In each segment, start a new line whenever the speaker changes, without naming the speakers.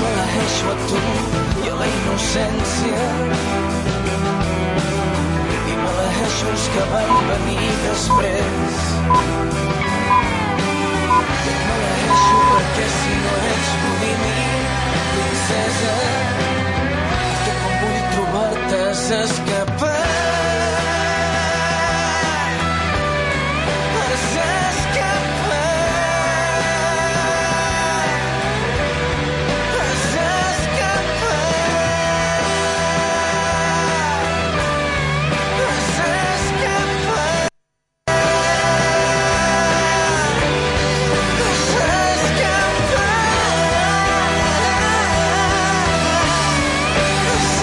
mucho tú i a la innocència. I maleeixos que van venir després. Et maleeixo perquè si no ets bonímia, princesa, que quan vull trobar-te has escapat. Has escapat. Has escapat. Has escapat. Has escapat. Has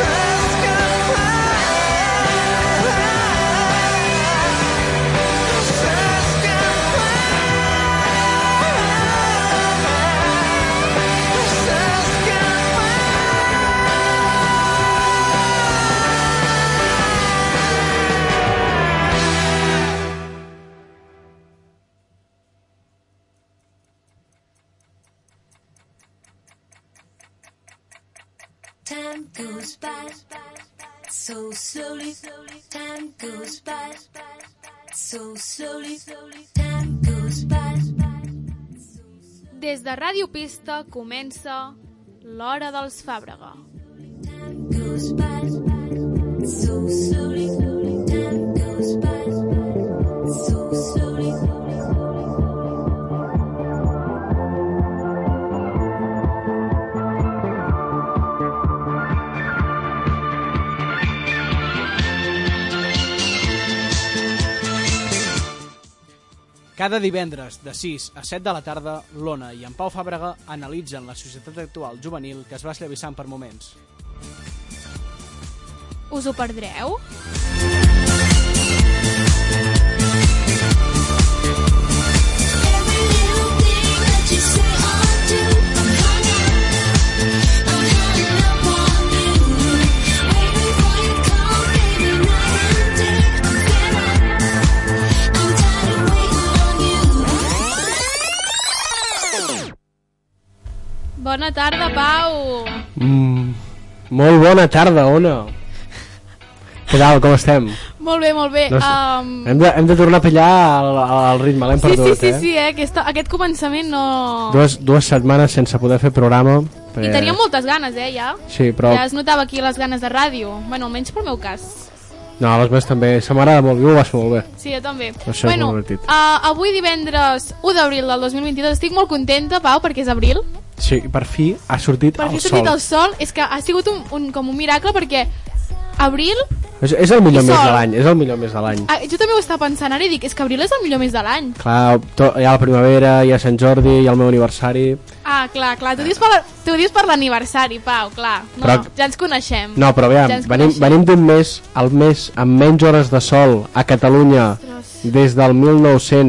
Time goes by so slowly. Time goes by so slowly. Time goes by.
Des de Ràdio Pista comença l'Hora dels Fàbrega.
Time goes by so slowly. Time goes by so slowly.
Cada divendres, de 6 a 7 de la tarda, l'Ona i en Pau Fàbrega analitzen la societat actual juvenil que es va esllavissant per moments.
Us ho perdreu?
Every little thing that you say or do, I'm hung up. I'm hung up on you. Waiting for your call, baby, night and day. I'm fed up. I'm tired of waiting on you.
Bona tarda, Pau!
Mm, molt bona tarda, Ona. Què tal, com estem?
Molt bé, molt bé.
No sé.
Um,
Hem de, hem de tornar a pillar al, al ritme, l'hem
sí, sí,
perdut,
sí,
eh?
sí, eh? Aquesta, aquest començament no...
Dues, dues setmanes sense poder fer programa.
I teníem moltes ganes, eh, ja.
Sí, però...
Ja es notava aquí les ganes de ràdio. Bueno, almenys pel meu cas.
No, les meves també. Se m'agrada molt, jo ho vas fer molt bé.
Sí, jo també.
Això és
bueno,
molt divertit.
uh, avui divendres 1 d'abril del 2022 estic molt contenta, Pau, perquè és abril.
Sí, per fi ha sortit
Per
el
fi ha
sol.
sortit el sol. És que ha sigut un, un, com un miracle perquè abril...
És, és el millor
I
mes
sol.
de l'any, és el millor mes de l'any.
Ah, jo també ho estava pensant ara i dic, és que abril és el millor mes de l'any.
Clar, to, hi ha la primavera, hi ha Sant Jordi, hi ha el meu aniversari...
Ah, clar, clar, tu dius per la- tu dius per l'aniversari, Pau, clar. No,
Però-
ja ens coneixem.
No, però aviam,
Ja ens
venim,
coneixem.
venim d'un mes al mes amb menys hores de sol a Catalunya
Ostres.
des del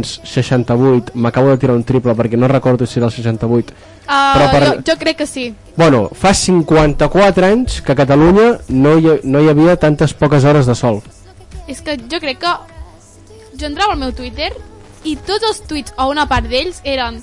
1968. M'acabo de tirar un triple perquè no recordo si era el 68.
Ah,
però per-
jo, jo crec que sí.
Bueno, fa 54 anys que a Catalunya no hi, ha- no hi havia tantes poques hores de sol.
És que jo crec que... Jo entrava al meu Twitter i tots els tuits, o una part d'ells, eren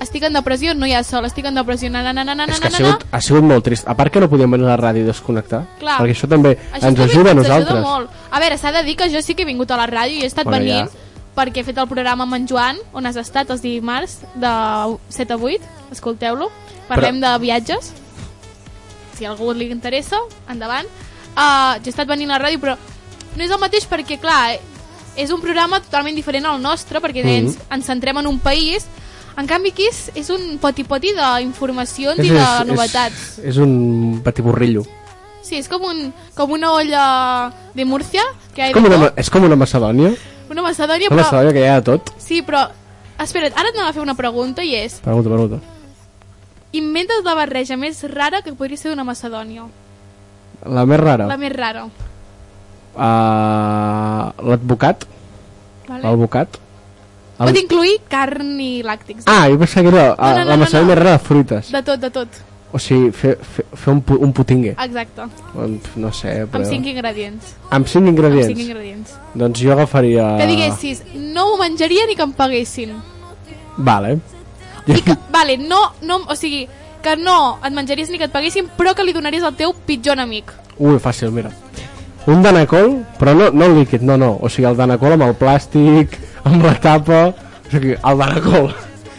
estic en depressió, no hi ha sol, estic en depressió, na na na na na na
És que ha
na,
sigut, ha sigut molt trist. A part que no podíem venir a la ràdio i desconnectar,
Clar.
perquè això també
na.
ens
també
ajuda
Ajuda
a nosaltres.
molt. A veure, s'ha de dir que jo sí que he vingut a la ràdio i he estat
Bueno,
venint
ja.
perquè he fet el programa amb en Joan, on has estat els dimarts de 7 a 8, escolteu-lo, parlem de viatges, si a algú li interessa, endavant. Uh, jo he estat venint a la ràdio, però no és el mateix perquè, clar, és un programa totalment diferent al nostre, perquè mm
Mm-hmm.
-hmm. ens, ens centrem en un país, en canvi aquí és, és un poti-poti d'informacions i de novetats.
És, és un patiburrillo.
Sí, és com, un, com una olla de Múrcia, que hi ha
Com
de
una, ma-
tot.
és com una Macedònia.
Una macedònia,
Una
però...
Macedònia que hi ha de tot.
Sí, però... Espera't, ara et anava a fer una pregunta i és...
Pregunta, pregunta.
Inventa't la barreja més rara que podria ser d'una macedònia.
La més rara.
La més rara.
Uh, l'advocat,
Vale? El...
l'advocat.
Pot incluir carn i làctics.
Ah, jo pensava que era uh,
No, no, no,
la
no,
macedònia
no.
més rara de fruites.
De tot, de tot.
O sigui, fer, fer, fer un, pu- un putingue.
Exacte.
Um, No sé,
Ah.
però...
Amb cinc ingredients.
Amb cinc
Amb
ingredients.
cinc ingredients.
Doncs jo agafaria...
Que diguessis, no ho menjaria ni que em paguessin.
Vale.
I que, vale, no, no, o sigui, que no et menjaries ni que et paguessin, però que li donaries al teu pitjor enemic.
Ui, fàcil, mira. Un danacol, però no, no el líquid, no, no. O sigui, el danacol amb el plàstic, amb la tapa... O sigui, el danacol.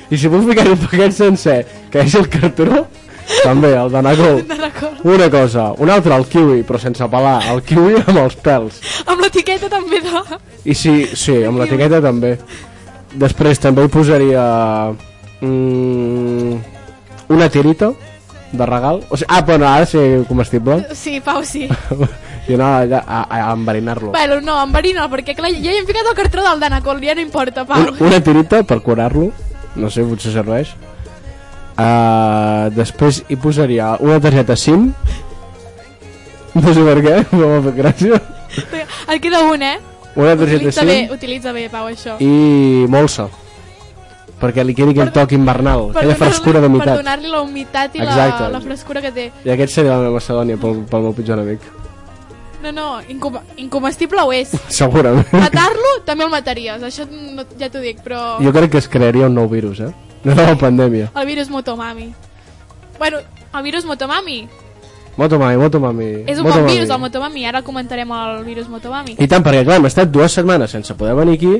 I si puc ficar un paquet sencer, que és el cartró, també, el danacol.
Te'n recordo.
Una cosa, una altra, el kiwi, però sense pelar. El kiwi amb els pèls.
Amb l'etiqueta també de...
I sí, sí, amb l'etiqueta també. Després també hi posaria... Mm, una tirita de regal. O sigui, ah, però ara sí, comestible.
Sí, Pau, sí.
I anar allà a, a enverinar-lo.
Bueno, no, enverina'l, perquè clar, ja hi hem ficat el cartró del Danacol, ja no importa, Pau.
Una, una tirita per curar-lo. No sé, potser serveix. Uh, després hi posaria una targeta SIM. No sé per què, no m'ha fet gràcia.
Et queda un, eh?
Una targeta
Utilitza
SIM.
bé, utilitza bé, Pau, això.
i molsa perquè li quedi aquell toc invernal aquella frescura de
donar-li- Per
meitat
donar-li la humitat i la,
Exacte.
la frescura que té.
i aquest seria la Macedònia pel, pel meu pitjor enemic
No, no, incom incomestible ho és.
segurament
Matar-lo també el mataries, això no, ja t'ho dic, però...
jo crec que es crearia un nou virus eh? no la pandèmia
El virus Motomami. Bueno, el virus Motomami.
Motomami, Motomami
És un bon
Motomami.
virus, el Motomami. Ara comentarem el virus Motomami.
i tant, perquè clar, hem estat dues setmanes sense poder venir aquí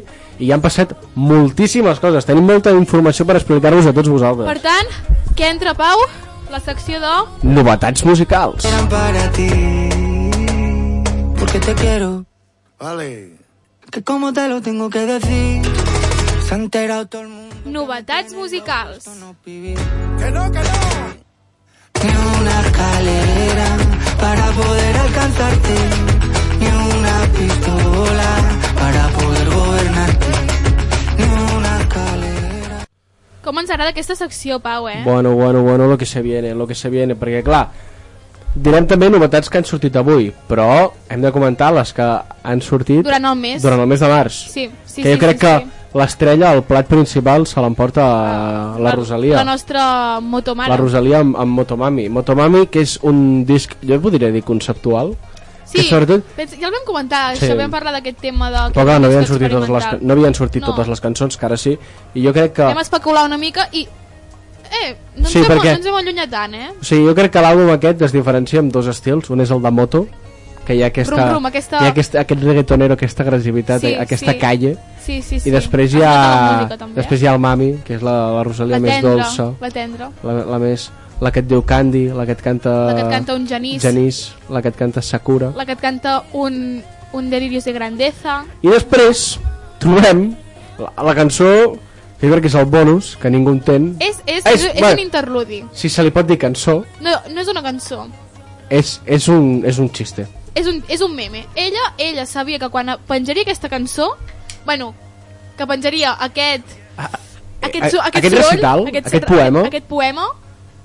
i ja han passat moltíssimes coses. Tenim molta informació per explicar-vos a tots vosaltres.
Per tant, que entra Pau, la secció de...
Novetats musicals.
Eran para ti, porque te quiero.
Vale.
Que como te lo tengo que decir, se ha enterado todo el mundo.
Novetats musicals.
No viví.
Que no, que no.
Ni una escalera para poder alcanzarte, ni una pistola para poder gobernarte, ni una escalera.
Com ens agrada aquesta secció, Pau, eh?
Bueno, bueno, bueno, lo que se viene, lo que se viene, perquè clar, direm també novetats que han sortit avui, però hem de comentar les que han sortit
Durant el mes.
durant el mes de març.
Sí, sí,
que jo
sí,
crec
sí,
que
sí. Ah,
l'estrella, el plat principal, se l'emporta eh, la Rosalia.
La nostra motomare.
La Rosalia amb, amb Motomami. Motomami, que és un disc, jo podria dir conceptual, que
sí,
sobretot-
pensa- ja el vam comentar,
Sí.
això, vam parlar d'aquest tema de...
però clar, no havien sortit totes les,
experimental.
no havien sortit
No.
totes les cançons, que ara sí, i jo crec que...
Vam especular una mica i... Eh, no ens,
Sí,
hem,
perquè-
no ens hem allunyat tant, eh?
O sigui, jo crec que l'àlbum aquest es diferencia amb dos estils. Un és el de moto, que hi ha, aquesta,
Brum, brum, aquesta-
hi ha aquest, aquest reggaetonero, aquesta agressivitat,
Sí,
aquesta
sí.
calle.
Sí, sí, sí.
I després hi,
Ens agrada la
ha,
música, també. eh?
després hi ha el Mami, que és la, la Rosalia
la
més
tendra,
dolça,
La tendra.
la, la més la que et diu Candy, la que et canta...
La que et canta un genís.
Genís, la que et canta Sakura.
La que et canta un, un delirios de grandeza.
I després trobem la, la cançó, que jo crec que és el bonus, que ningú entén. Ah,
És, és,
És-
és, és
bueno.
un interludi.
Si se li pot dir cançó,
No, no és una cançó.
és, és, un, és un xiste.
És un, és un meme. Ella ella sabia que quan penjaria aquesta cançó... Bueno, que penjaria aquest... Aquest, so-
a-
aquest,
Ah, eh, aquest
soroll,
recital,
so-
aquest poema.
Aquest, aquest poema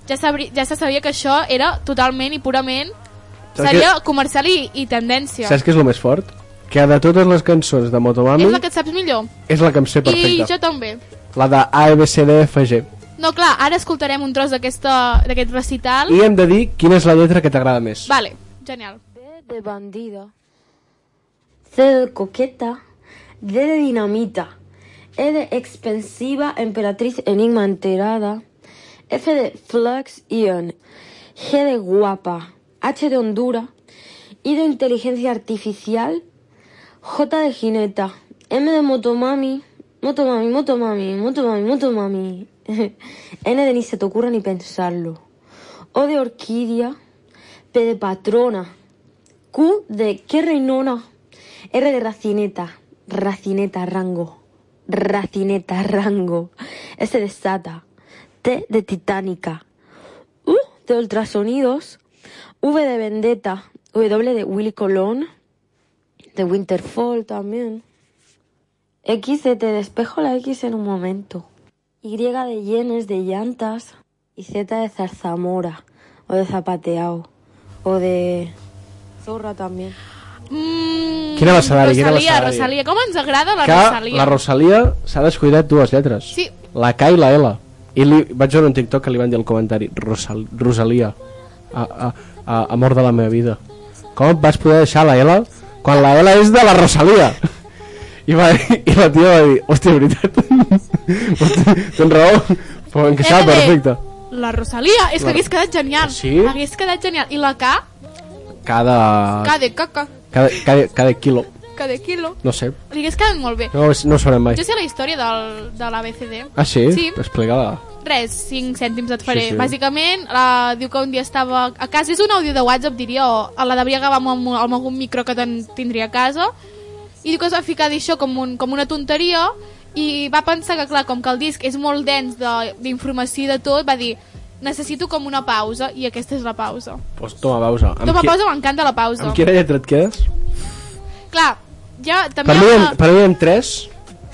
ja, sabri, ja se sabia que això era totalment i purament...
Saps
Seria comercial i, i tendència.
Saps què és el més fort? Que de totes les cançons de Motomami
És la que et saps millor.
és la que em sé
I
perfecta.
jo també.
La de ABCDFG.
No, clar, ara escoltarem un tros d'aquesta- d'aquest recital.
I hem de dir quina és la lletra que t'agrada més.
Vale, genial.
B de bandida. C de coqueta. D de dinamita. E de expensiva emperatriz enigma enterada. F de flux ion. G de guapa. H de Hondura. I de inteligencia artificial. J de jineta. M de motomami. Motomami, motomami, motomami, motomami. N de ni se te ocurra ni pensarlo. O de orquídea. P de patrona. Q de qué reinona. R de racineta. Racineta, rango. Racineta, rango. S de sata. T de titánica. U de ultrasonidos. V de vendetta. W de Willy Colón. De Winterfall también. X de te despejo la X en un momento. Y de yenes de llantas. Y Z de zarzamora. O de zapateado. O de zorra también.
Mm,
Quina basarada, quina
Rosalia,
basarada.
Rosalia, com ens agrada la
que
Rosalia.
la Rosalia s'ha descuidat dues lletres.
Sí.
La K i la L. I li, vaig veure un TikTok que li van dir al comentari Rosal, Rosalia, a, a, a, amor de la meva vida. Com vas poder deixar la L quan la L és de la Rosalia? I, va, i la tia va dir, hòstia, veritat, tens raó, però em queixava
L de
perfecte.
La Rosalia! És que hagués quedat genial.
Sí?
Hagués quedat genial. I la K,
Cada...
K de caca,
Cada, cada, cada quilo.
K de kilo.
No sé.
Li hagués quedat molt bé.
No, no ho sabrem mai.
Jo sé la història del, de l'ABCD.
Ah, sí?
Sí.
Explica-la.
Res, 5 cèntims et faré.
Sí,
Sí,
sí.
sí. Bàsicament, la, diu que un dia estava a casa, és un àudio de WhatsApp, diria, o a la devia acabar amb, amb, amb algun micro que ten, tindria a casa, i diu que es va ficar a dir això com, un, com una tonteria, i va pensar que, clar, com que el disc és molt dens de- d'informació i de tot, va dir, necessito com una pausa, i aquesta és la pausa.
Pues toma pausa. Amb
Toma
qui-
pausa, m'encanta la pausa.
Amb quina lletra et quedes?
Clar, ja, també...
Per mi,
hi ha
en,
una-
per mi en tres,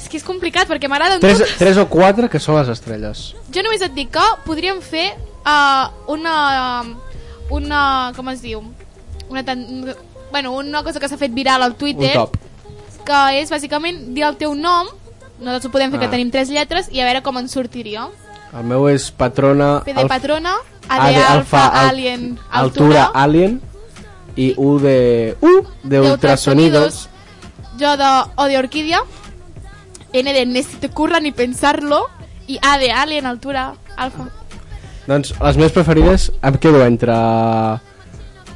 És que és complicat, perquè m'agraden
tres,
totes.
tres o quatre que són les estrelles.
Jo només et dic que podríem fer uh, una... una... com es diu? Una tan... Bueno, una cosa que s'ha fet viral al
Un
Twitter,
top.
que és bàsicament dir el teu nom, nosaltres ho podem fer,
Ah.
que tenim tres lletres, i a veure com en sortiria.
El meu és Patrona...
P de
Alf-
patrona, A
A
de
de
alfa,
Al-
alien,
Altura, Alien. I U de... U de
de
Ultrasonidos.
ultrasonidos, jo de O de orquídea, N de ni se te curra ni pensarlo, i A de alien, altura, alfa.
Doncs les meves preferides em quedo entre...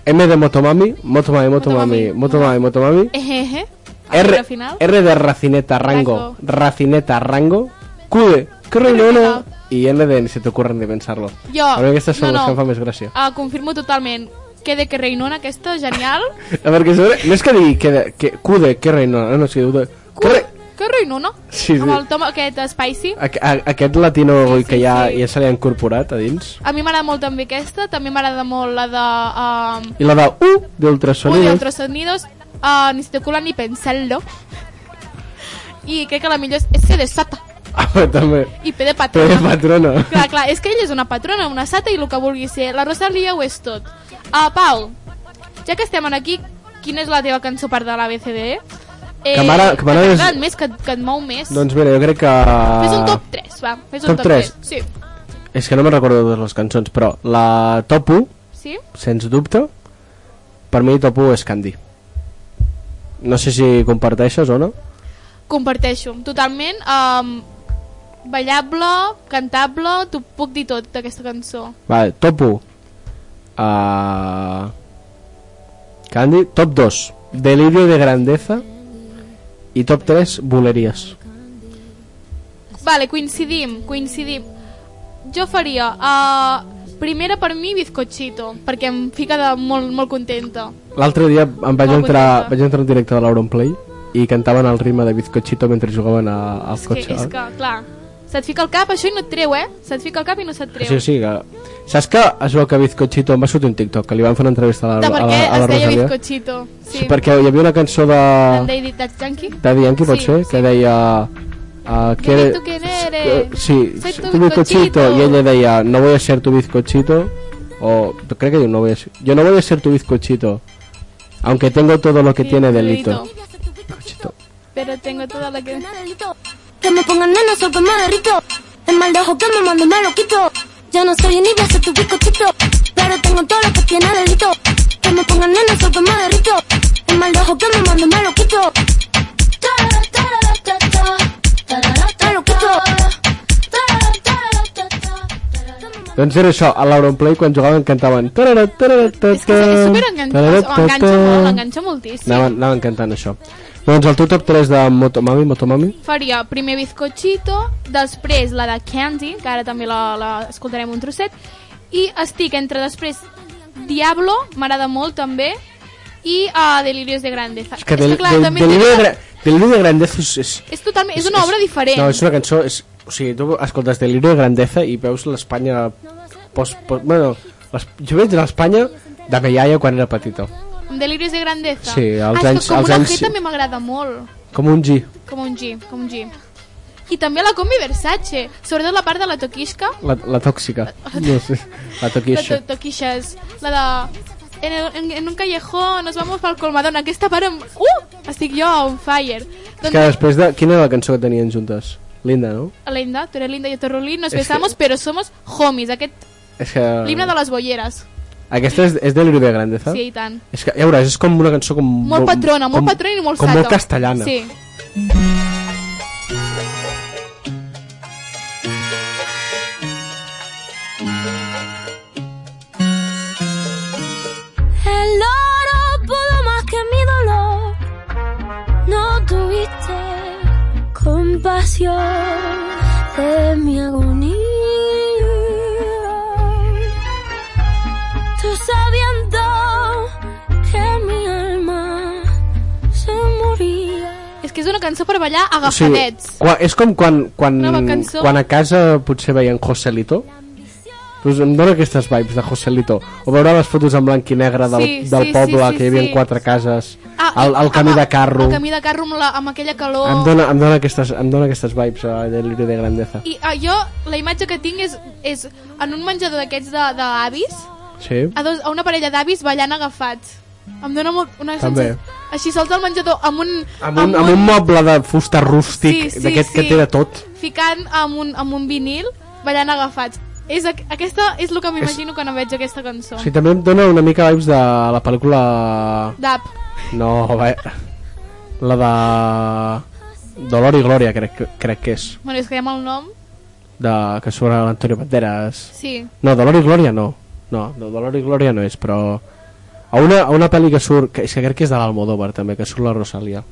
M de Motomami, Motomami, Motomami,
Motomami.
Motomami, Motomami.
Ejeje.
R,
Al final.
R de Racineta Rango,
Rango.
Racineta Rango, Q de Corrinona i N de ni se t'ocorren de pensar-lo.
Jo,
A mi aquestes
no,
són les que
no.
em fan més gràcia.
Uh, confirmo totalment. Que de que reinona aquesta, genial.
A veure, que sobre... No és que digui que, de, que Q de Corrinona, no, sí, U de... Corre...
Que reinona?
Sí, sí.
Amb el tom aquest spicy.
A, a, aquest latino
Sí, sí,
que ja,
sí.
ja se li ha incorporat a dins.
A mi m'agrada molt també aquesta, també m'agrada molt la de... Uh,
I la de U
un de
d'Ultrasonidos.
otros sonidos, uh, ni se te culan ni pensarlo. I crec que la millor és S de sata
Ah, però també.
i P de
P de
patrona.
Patrona.
Clar, clar, és que ella és una patrona, una sata i el que vulgui ser. La Rosalia ho és tot. Uh, Pau, ja que estem en aquí, quina és la teva cançó part de la BCD? Eh,
Que m'agrada- que m'agrada
t'ha
és-
agradat més, que, et- que et mou més.
Doncs mira, jo crec que...
Fes un top 3, va. Fes un
Top
top,
tres.
3. Sí.
És que no me'n recordo totes les cançons, però la top 1
Sí?
sens dubte, per mi top 1 és Candy. No sé si comparteixes o no.
Comparteixo. Totalment um, ballable, cantable, t'ho puc dir tot d'aquesta cançó.
Vale, top 1. Uh, Candy. Top 2. Delirio de grandeza. I top 3, Buleries.
Vale, coincidim, coincidim. Jo faria... Uh, primera per mi, Bizcochito, perquè em fica de molt, molt contenta.
L'altre dia em vaig
Molt
entrar,
bonica.
vaig entrar en directe de l'Auronplay i cantaven el ritme de Bizcochito mentre jugaven a, al
És que,
cotxe.
és que, clar, se't fica al cap, això i no et treu, eh? Se't fica al cap i no se't treu.
Sí, sí, que... Saps que es veu que Bizcochito em va sortir un TikTok, que li van fer una entrevista a la,
De per
a
què
la, a la
es deia
Rosalia?
Bizcochito.
Sí, perquè hi havia una cançó de...
Em deia That Junkie.
Daddy Yankee pot
Sí,
ser, que deia... Uh, que
Dime tú quién eres.
que- Sí,
Soy tu
tu bizcochito.
bizcochito.
I ella deia, no voy a ser tu bizcochito. O crec que diu, no voy a ser... Yo no voy a ser tu bizcochito. Aunque tengo todo lo que tiene delito. Bizcochito.
Pero tengo toda la que...
Que me pongan nena sobre me derrito. El mal de ojo que me mando me lo quito. Yo no soy ni voy a ser tu bizcochito. Pero tengo todo lo que tiene delito. Que me pongan nena sobre me derrito. El mal de ojo que me mando me lo quito. Me lo quito.
Doncs era això, a l'Auronplay quan jugaven cantaven...
És que és superenganxós, o enganxa molt, enganxa moltíssim.
Anaven, anaven cantant això. Doncs el teu top 3 de Motomami, Motomami,
Faria primer Bizcochito, després la de Candy, que ara també la, la escoltarem un trosset, i estic entre després Diablo, m'agrada molt també, i uh, Delirios de Grandeza.
és que, del,
clar,
del,
també
del,
té
Lido de,
una-
Gra- del Lido de Grandeza és, és,
és, totalment, és una obra diferent.
No, és una cançó... És, o sigui, tu escoltes Delirio de Grandeza i veus l'Espanya... Post, post, bueno, les, jo veig l'Espanya de Bellaia quan era petito.
Amb Delirios de Grandeza.
Sí,
ah,
als
és
anys-
que com
als
una
anys-
G també m'agrada molt.
Com un G.
Com un G, com un G. I també la combi Versace, sobretot la part de la Toquisca,
La, la tòxica. No sé. La
La
toquisha.
to toquilles, la de... En, el, en, en un callejón, nos vamos pel Colmadón. Aquesta part amb... Uh! Estic jo on fire.
És que després de... Quina era la cançó que tenien juntes? Linda, no?
Linda, tú eres linda, yo te rulí, nos
És que- Ah.
besamos, pero somos homies. Aquest
És que...
l'himne de les bolleres.
Aquesta és, és Delirio de Grandeza?
Sí, i tant.
És que, ja veuràs, és com una cançó com...
Molt patrona, molt
Ah. com,
patrona i molt
com
sata.
molt castellana.
Sí.
Quiero El oro pudo más que mi dolor. No tuviste compasión de mi agonía. Tú sabiendo que mi alma se moría.
És que és una cançó per ballar
O sigui,
agafadets.
qua, és com quan, quan,
Nova cançó.
quan a casa potser veien Joselito. Doncs em dóna aquestes vibes de Joselito. O veure les fotos en blanc i negre del,
Sí,
del
sí,
poble,
sí, sí,
que hi havia
sí.
quatre cases,
Ah,
al, al camí
amb-
de carro.
El camí de carro amb, la, amb aquella calor.
Em, dóna, em, dóna aquestes, em dóna aquestes vibes a Delirio de Grandeza.
I ah, jo, la imatge que tinc és, és en un menjador d'aquests de- d'avis,
Sí?
a, dos, a una parella d'avis ballant agafats. Em dóna molt, una
També.
sensació... Així sols al menjador, amb un...
Amb un, amb un moble de fusta rústic,
Sí, sí,
d'aquest que
sí.
té de tot.
Ficant amb un, amb un vinil, ballant agafats. És, aqu- aquesta és el que m'imagino quan em veig aquesta cançó.
O sigui, també em dóna una mica vibes de la pel·lícula...
Dap.
No, va... La de... Dolor i Glòria, crec, que- crec que és.
Bueno, és que ja amb el nom,
De, que sobre l'Antonio Banderas.
sí.
No, Dolor i Glòria no. No, no, Dolor i Glòria no és, però... A una, a una pel·li que surt... Que, és que crec que és de l'Almodóvar, també, que surt la Rosalia.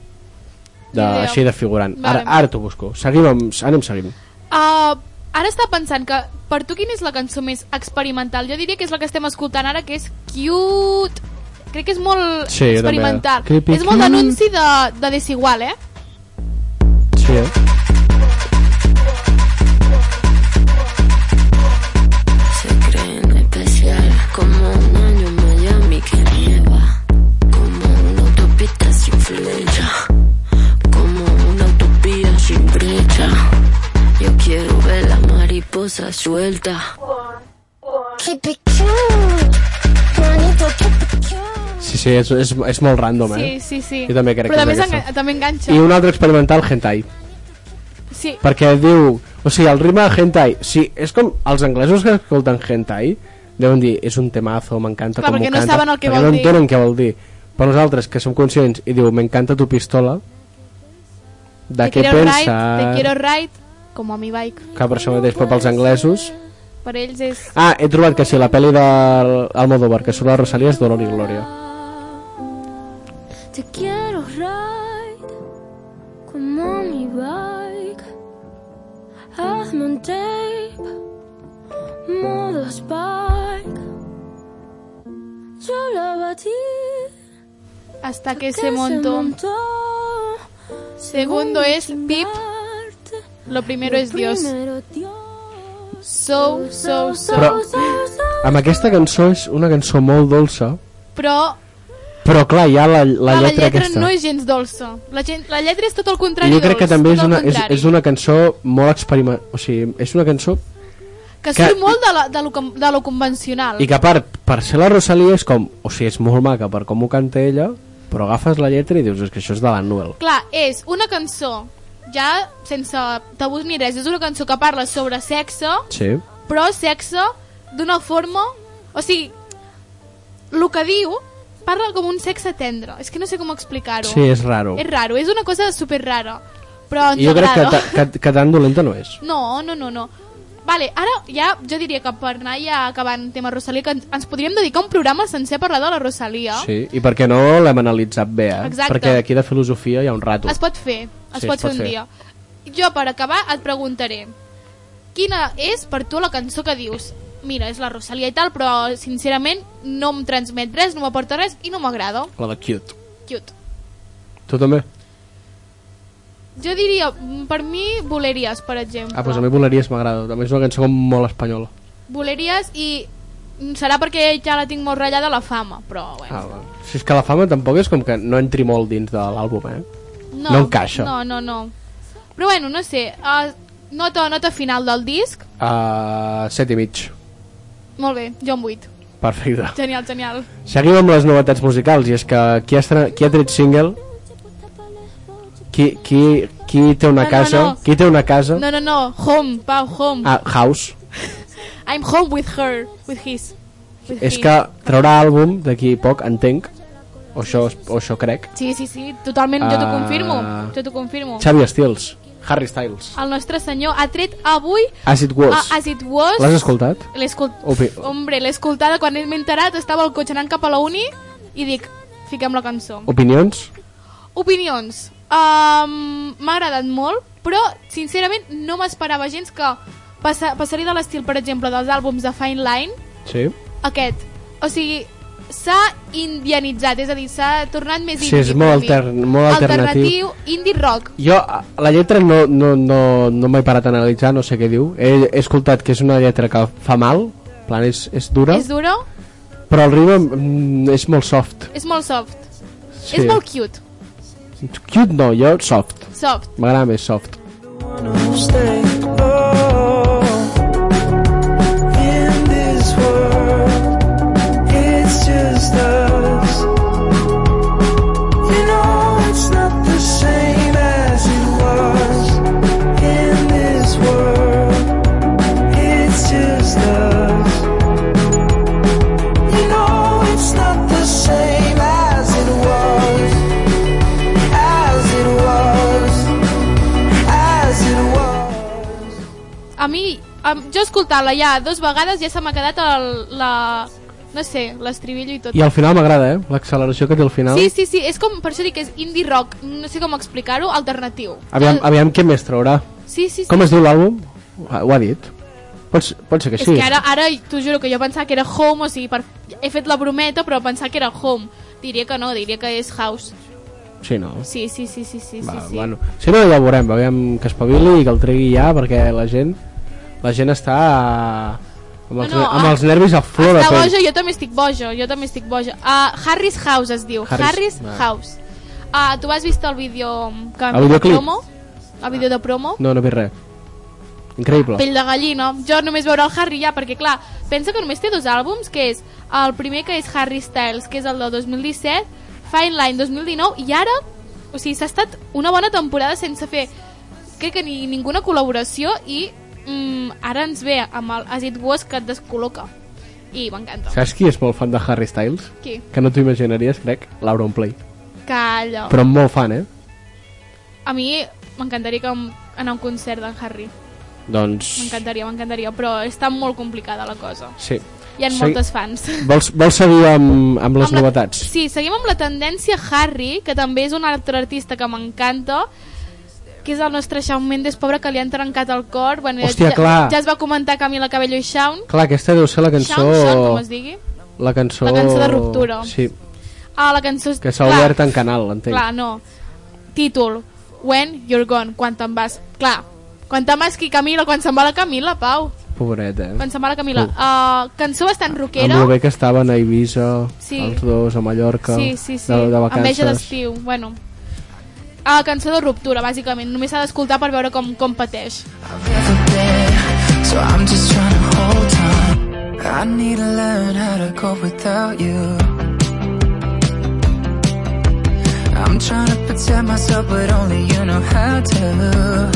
De,
Ni idea.
així de figurant.
Vale.
Ara, ara t'ho busco. Seguim amb, anem seguint.
Uh, ara està pensant que per tu quina és la cançó més experimental? Jo diria que és la que estem escoltant ara, que és Cute. Crec que és molt
Sí, jo
experimental.
també. Creepy
és molt
cute.
d'anunci de, de desigual, eh?
Sí, eh?
Se creen especial como un año en Miami que nieva, como una autopista sin flecha, como una utopía sin brecha. Yo quiero ver la mariposa suelta.
Keep it cute. Bonito, keep it cute.
Sí, sí, és, és, és molt random,
Sí,
eh?
sí, sí.
Jo també crec
Però
que
també,
és aquesta.
enga també enganxa.
I un altre experimental, hentai.
Sí,
Perquè diu... O sigui, el ritme de hentai... Sí, és com els anglesos que escolten hentai deuen dir, és un temazo, m'encanta
Clar,
com
perquè
ho
no
canta,
saben el que
perquè
vol
no
dir.
entenen què vol dir. Però nosaltres, que som conscients, i diu, m'encanta tu pistola, de
te
què
quiero ride,
pensa...
te quiero ride, com a mi bike.
Que per això mateix, però pels anglesos...
Per ells és...
Ah, he trobat que sí, la pel·li d'Almodóvar, que surt la Rosalia, és Dolor i Glòria.
Te quiero ride como mi bike. Hazme un tape, modo spike. Yo la batí.
Hasta que
Se
se montó.
montó.
Segundo es Pip. Lo primero es Dios.
Primero Dios.
So, so, so.
Però amb aquesta cançó és una cançó molt dolça,
Però
però clar, hi ha la, la,
la, la lletra
lletra aquesta.
no és gens dolça. La, gent, la lletra és tot el
I
contrari
jo crec
dolç,
que també és
tot el
una, és,
contrari.
és una cançó molt experiment... O sigui, és una cançó...
Que
que-
surt molt de, la, de, lo, com- de lo convencional.
I que a part, per ser la Rosalia és com... O sigui, és molt maca per com ho canta ella, però agafes la lletra i dius, és que això és de la Noel.
Clar, és una cançó ja sense tabús ni res. És una cançó que parla sobre sexe,
Sí.
però sexe d'una forma... O sigui, el que diu parla com un sexe tendre. És que no sé com explicar-ho.
Sí, és raro.
És raro, és una cosa super rara. Però ens
I jo crec que,
agrada.
ta- que, que tan dolenta no és.
No, no, no, no. Vale, ara ja jo diria que per anar ja acabant tema Rosalia, que ens, ens podríem dedicar un programa sencer a parlar de la Rosalia.
Sí, i perquè no l'hem analitzat bé, eh?
Exacte.
Perquè aquí de filosofia hi ha un rato.
Es pot fer, es
Sí,
pot
es
fer
pot
un
fer.
dia. Jo, per acabar, et preguntaré quina és per tu la cançó que dius mira, és la Rosalia i tal, però sincerament no em transmet res, no m'aporta res i no m'agrada.
La de cute.
Cute.
Tu també?
Jo diria, mm, per mi, Voleries, per exemple.
Ah, doncs a mi Voleries m'agrada. També és una cançó com molt espanyola.
Voleries i mm, serà perquè ja la tinc molt ratllada la fama, però bueno.
Ah, va. Si és que la fama tampoc és com que no entri molt dins de l'àlbum, eh?
No,
No encaixa.
No, no, no. Però bueno, no sé, uh, nota, nota final del disc,
Uh, set i mig.
molt bé, jo en 8.
Perfecte.
Genial, genial.
Seguim amb les novetats musicals, i és que qui ha, estre- qui ha tret single, qui, qui, qui té una
No, no,
casa,
no.
qui té una casa,
No, no, no, home, Pau, home.
ah, House,
I'm home with her, with his. With
és
him.
que traurà àlbum d'aquí poc, entenc, o això, es- o això crec,
Sí, sí, sí, totalment, jo t'ho
Ah.
confirmo, jo t'ho confirmo.
Xavi Estils, Harry Styles.
El nostre senyor ha tret avui
As it was.
a Ah, As It Was.
Ah, L'has Oh, escoltat?
L'he escolt...
Opi-
Hombre, l'he escoltada quan m'he enterat, estava al cotxe anant cap a la uni i dic, fiquem la cançó.
Opinions?
Opinions. Um, M'ha agradat molt, però sincerament no m'esperava gens que passa, passaria de l'estil, per exemple, dels àlbums de Fine Line,
Sí.
aquest. O sigui, s'ha indianitzat, és a dir, s'ha tornat més
Sí,
indie,
és molt
per dir.
altern- molt alternatiu.
alternatiu. indie rock.
Jo, a- la lletra no, no, no, no m'he parat a analitzar, no sé què diu. He, he escoltat que és una lletra que fa mal, en plan, és, és dura,
És duro,
però el ritme mm, és molt soft.
és molt soft,
Sí.
és molt cute,
Cute no, jo soft.
soft.
M'agrada més soft.
Stay. Oh, in this world, it's just us. You know it's not the same as it was. In this world, it's just us. You know it's not the same as it was. As it was. As it was.
a mi, um, jo escoltant-la ja dues vegades ja se m'ha quedat el, la... no sé, l'estribillo i tot.
I al final m'agrada, eh? L'acceleració que té al final.
Sí, sí, sí, és com, per això dic que és indie rock, no sé com explicar-ho, alternatiu.
Aviam,
El-
aviam què més traurà.
Sí, sí, sí.
Com es diu l'àlbum? Ah, Ho ha dit. Pot, ser- pot ser que
és
sí.
que ara, ara t'ho juro que jo pensava que era home, o sigui, per... he fet la brometa, però pensava que era home. Diria que no, diria que és house.
Sí, no.
Sí, sí, sí, sí, sí,
Va,
sí, sí.
Bueno, si no ja ho veurem, aviam que espavili i que el tregui ja, perquè la gent, la gent està eh, amb els,
No, no,
amb
ah,
els nervis a flor de
Està
pell.
boja, jo també estic boja, jo també estic boja. Uh, Harris House es diu,
Harris-
Harris,
ah.
House. Uh, tu has vist el vídeo um, que
El
vam fer de
videoclip?
promo? El vídeo de promo?
No, no he vist res. Increïble.
Pell de gallina. Jo només veuré el Harry ja, perquè clar, pensa que només té dos àlbums, que és el primer que és Harry Styles, que és el de 2017, Fine Line 2019, i ara, o sigui, s'ha estat una bona temporada sense fer, crec que ni ninguna col·laboració, i mm, ara ens ve amb el As It Was que et descol·loca. I m'encanta.
Saps qui és molt fan de Harry Styles?
Qui?
Que no t'ho imaginaries, crec. Laura Play.
Calla.
Però molt fan, eh?
A mi m'encantaria que em- anar a un concert d'en Harry.
Doncs...
M'encantaria, m'encantaria, però està molt complicada la cosa.
Sí.
Hi ha
Segui-
moltes fans.
Vols, vols seguir amb, amb les
Amb la-
novetats?
Sí, seguim amb la tendència Harry, que també és un altre artista que m'encanta, que és el nostre Shawn Mendes, pobre, que li han trencat el cor. Bueno, ja-
Hòstia,
ja,
clar.
Ja es va comentar Camila Cabello i Shawn.
Clar, aquesta deu ser la cançó...
Shawn, Shawn, com es digui.
La cançó...
La cançó de ruptura.
Sí,
Ah, la cançó... és-
que s'ha
clar,
obert en canal, entenc.
Clar, no. Títol. When you're gone. Quan te'n vas. Clar. Quan te'n vas qui Camila, quan se'n va la Camila, Pau.
Pobreta, eh?
Quan se'n va la Camila. Uh, cançó bastant rockera.
Amb lo bé que estaven a Eivissa,
Sí.
els dos, a Mallorca,
Sí, sí, sí.
De, de
Enveja
vacances.
d'estiu, bueno. A la cançó de ruptura, bàsicament. Només s'ha d'escoltar per veure com, com pateix.
So I'm just trying to hold on. I need to learn how to go without you. I'm trying to protect myself, but only you know how to.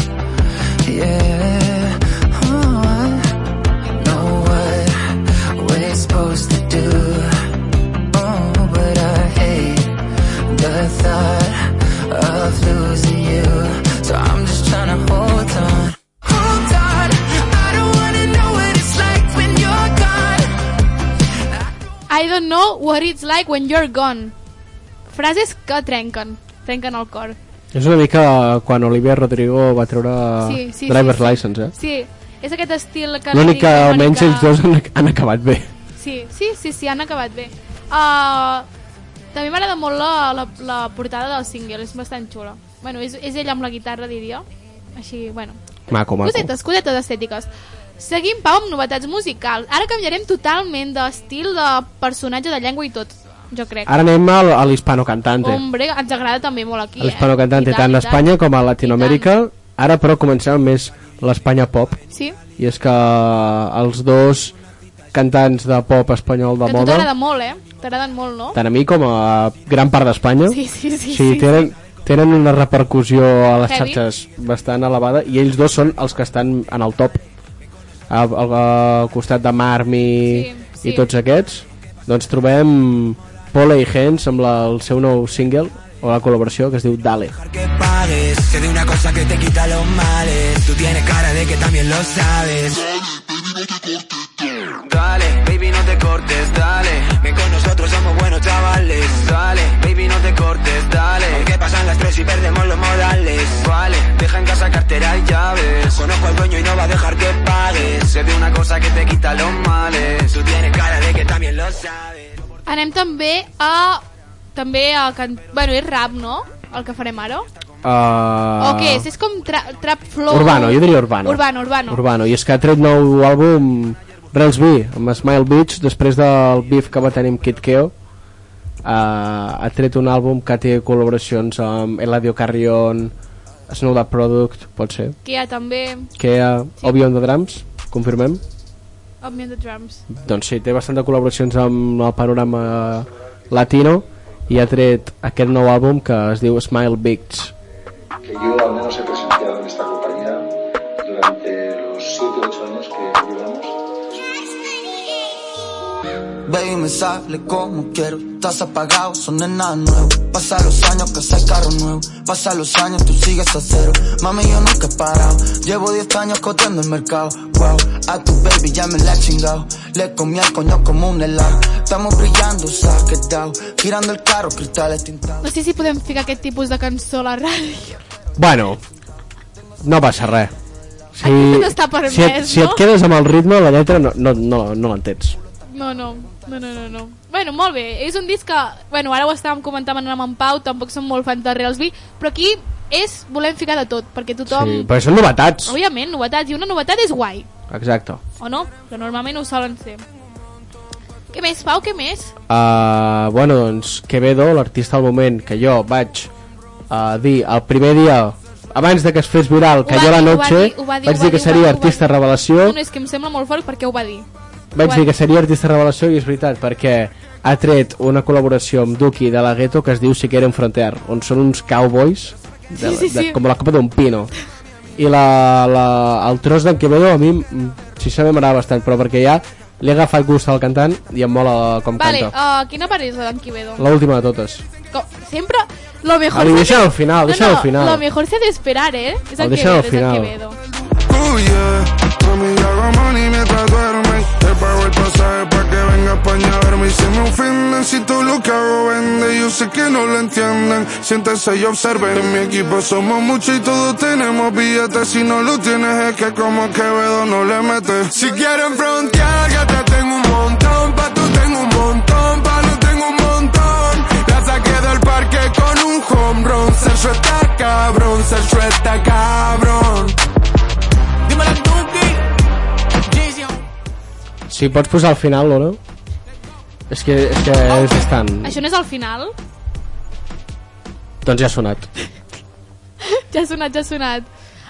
Yeah. Oh, I know what we're supposed to do. Oh, but I hate the thought of losing you. So I'm just trying to hold on. Hold on, I don't wanna know what it's like when you're gone.
I don't know what it's like when you're gone. Frases que trenquen. Trenquen el cor.
És una mica quan Olivia Rodrigo va treure
Sí, sí,
Driver's
sí, sí.
License, eh?
Sí, és aquest estil que...
L'únic
l'únic
que almenys ells dos han, han acabat bé.
Sí, sí, sí, sí, han acabat bé. Uh, també m'agrada molt la, la, la portada del single, és bastant xula. Bueno, és, és ella amb la guitarra, diria. Així, bueno,
Maco, maco.
Cosetes, cosetes estètiques. Seguim, Pau, amb novetats musicals. Ara canviarem totalment d'estil, de personatge, de llengua i tot, jo crec.
Ara anem al, a l'hispano cantante.
Hombre, ens agrada també molt aquí,
A l'hispano
eh?
cantante
I tant,
tant
i
a
tant.
Espanya com a Latinoamèrica. Ara, però, comencem més l'Espanya pop.
Sí,
I és que eh, els dos cantants de pop espanyol de
que a tu
moda,
t'agrada molt, eh? T'agraden molt, no?
tant a mi com a gran part d'Espanya,
Sí, sí, sí.
sí, tenen, tenen una repercussió a les
Heavy.
xarxes bastant elevada i ells dos són els que estan en el top al, al, al costat de Marmi
Sí, sí.
i tots aquests doncs trobem Paula i Hens amb la, el seu nou single o la col·laboració que es diu Dale
Que pare
pagues. Sé de una cosa que te quita los males. Tú tienes cara de que también lo sabes. Dale, baby, no te cortes, dale. Ven con nosotros, somos buenos chavales. Dale, baby, no te cortes, dale. Aunque pasan las tres y perdemos los modales. Vale, deja en casa cartera y llaves. Conozco al dueño y no va a dejar que pagues. Se ve una cosa que te quita los males. Tú tienes cara de que también lo sabes.
Anem també a... També a... Can... Bueno, és rap, no? El que farem ara.
Uh...
O què és? És com tra trap flow...
Urbano, jo diria Urbano.
Urbano, urbano.
Urbano, i és que ha tret nou àlbum Rels B, amb Smile Beach, després del beef que va tenir amb Kid Keo. Uh, ha tret un àlbum que té col·laboracions amb Eladio Carrion, Snow Dog Product, pot ser,
Que hi ha també...
que uh, Obi on the Drums, confirmem.
Omni and the Drums.
Doncs sí, té bastant de col·laboracions amb el panorama latino i ha tret aquest nou àlbum que es diu Smile Beach.
que yo al menos he presenciado en esta compañía durante los 7 o 8 años que llevamos.
Baby, me sale como quiero. Estás apagado, son de nada nuevo. Pasa los años que haces carro nuevo. Pasa los años, tú sigues a cero. Mami, yo nunca he parado. Llevo 10 años coteando el mercado. Wow, a tu baby ya me la he chingado. Le comí al coño como un helado. Estamos brillando, saquetao. Girando el carro, cristales tintados.
No sé si podem ficar aquest tipus de cançó a la ràdio.
Bueno, no passa res. Si,
Aquest no està permès,
si, et, si
no?
et quedes amb el ritme, la lletra no, no, no, no l'entens.
No, no, no, no, no, no. Bueno, molt bé. És un disc que... Bueno, ara ho estàvem comentant amb en Pau, tampoc som molt fans de Reals B, però aquí és... Volem ficar de tot, perquè tothom...
Sí, perquè són novetats.
Òbviament, novetats. I una novetat és guai,
Exacte.
o no? Que normalment ho solen ser. Què més, Pau? Què més?
Uh, bueno, doncs, Quevedo, l'artista al moment que jo vaig uh, dir el primer dia, abans de que es fes viral, que
Ho va
jo la
dir, ho va
noche,
dir, ho va dir, ho va
vaig dir
dir,
que
ho va
seria
dir, ho va
artista
dir.
revelació,
No, no, és que em sembla molt fort perquè ho va dir. ho
vaig
va
dir
dir.
que seria artista revelació i és veritat, perquè ha tret una col·laboració amb Duki de la Ghetto que es diu Si quieren frontear, on són uns cowboys, de,
Sí, sí,
de,
sí.
com la copa d'un pino. I la, la, el tros d'en Quevedo a mi, mm, sincerament, m'agrada bastant, però perquè ja li he agafat gust al cantant i em mola com
Vale, oh.
canta.
uh, quina part és la d'en Quivedo?
La última de totes.
Com, sempre lo mejor...
Ali,
se-
deixa'l al final, deixa'l
no,
al final.
Lo mejor se ha de esperar, eh? És
El
el, Quevedo,
deixa'l
és
al
el
final.
Quevedo.
Oh yeah, mami, hago money mientras duermen. Te pago el pasaje pa' que venga a España a verme. Y se me ofenden si todo lo que hago vende. Yo sé que no lo entienden. Siéntense y observen. En mi equipo somos muchos y todos tenemos billetes. Si no lo tienes es que como Quevedo no le metes. Si quieren frontear, que te tengo un montón. Pa' tú tengo un montón, pa' no tengo un montón. La saqué del parque con un home run. Sergio está cabrón, Sergio está cabrón. Dímelo
Si pots posar al final, Lola. És que, és que
Oh.
és bastant...
Això no és el final?
Doncs ja ha sonat.
Ja ha sonat, ja ha sonat.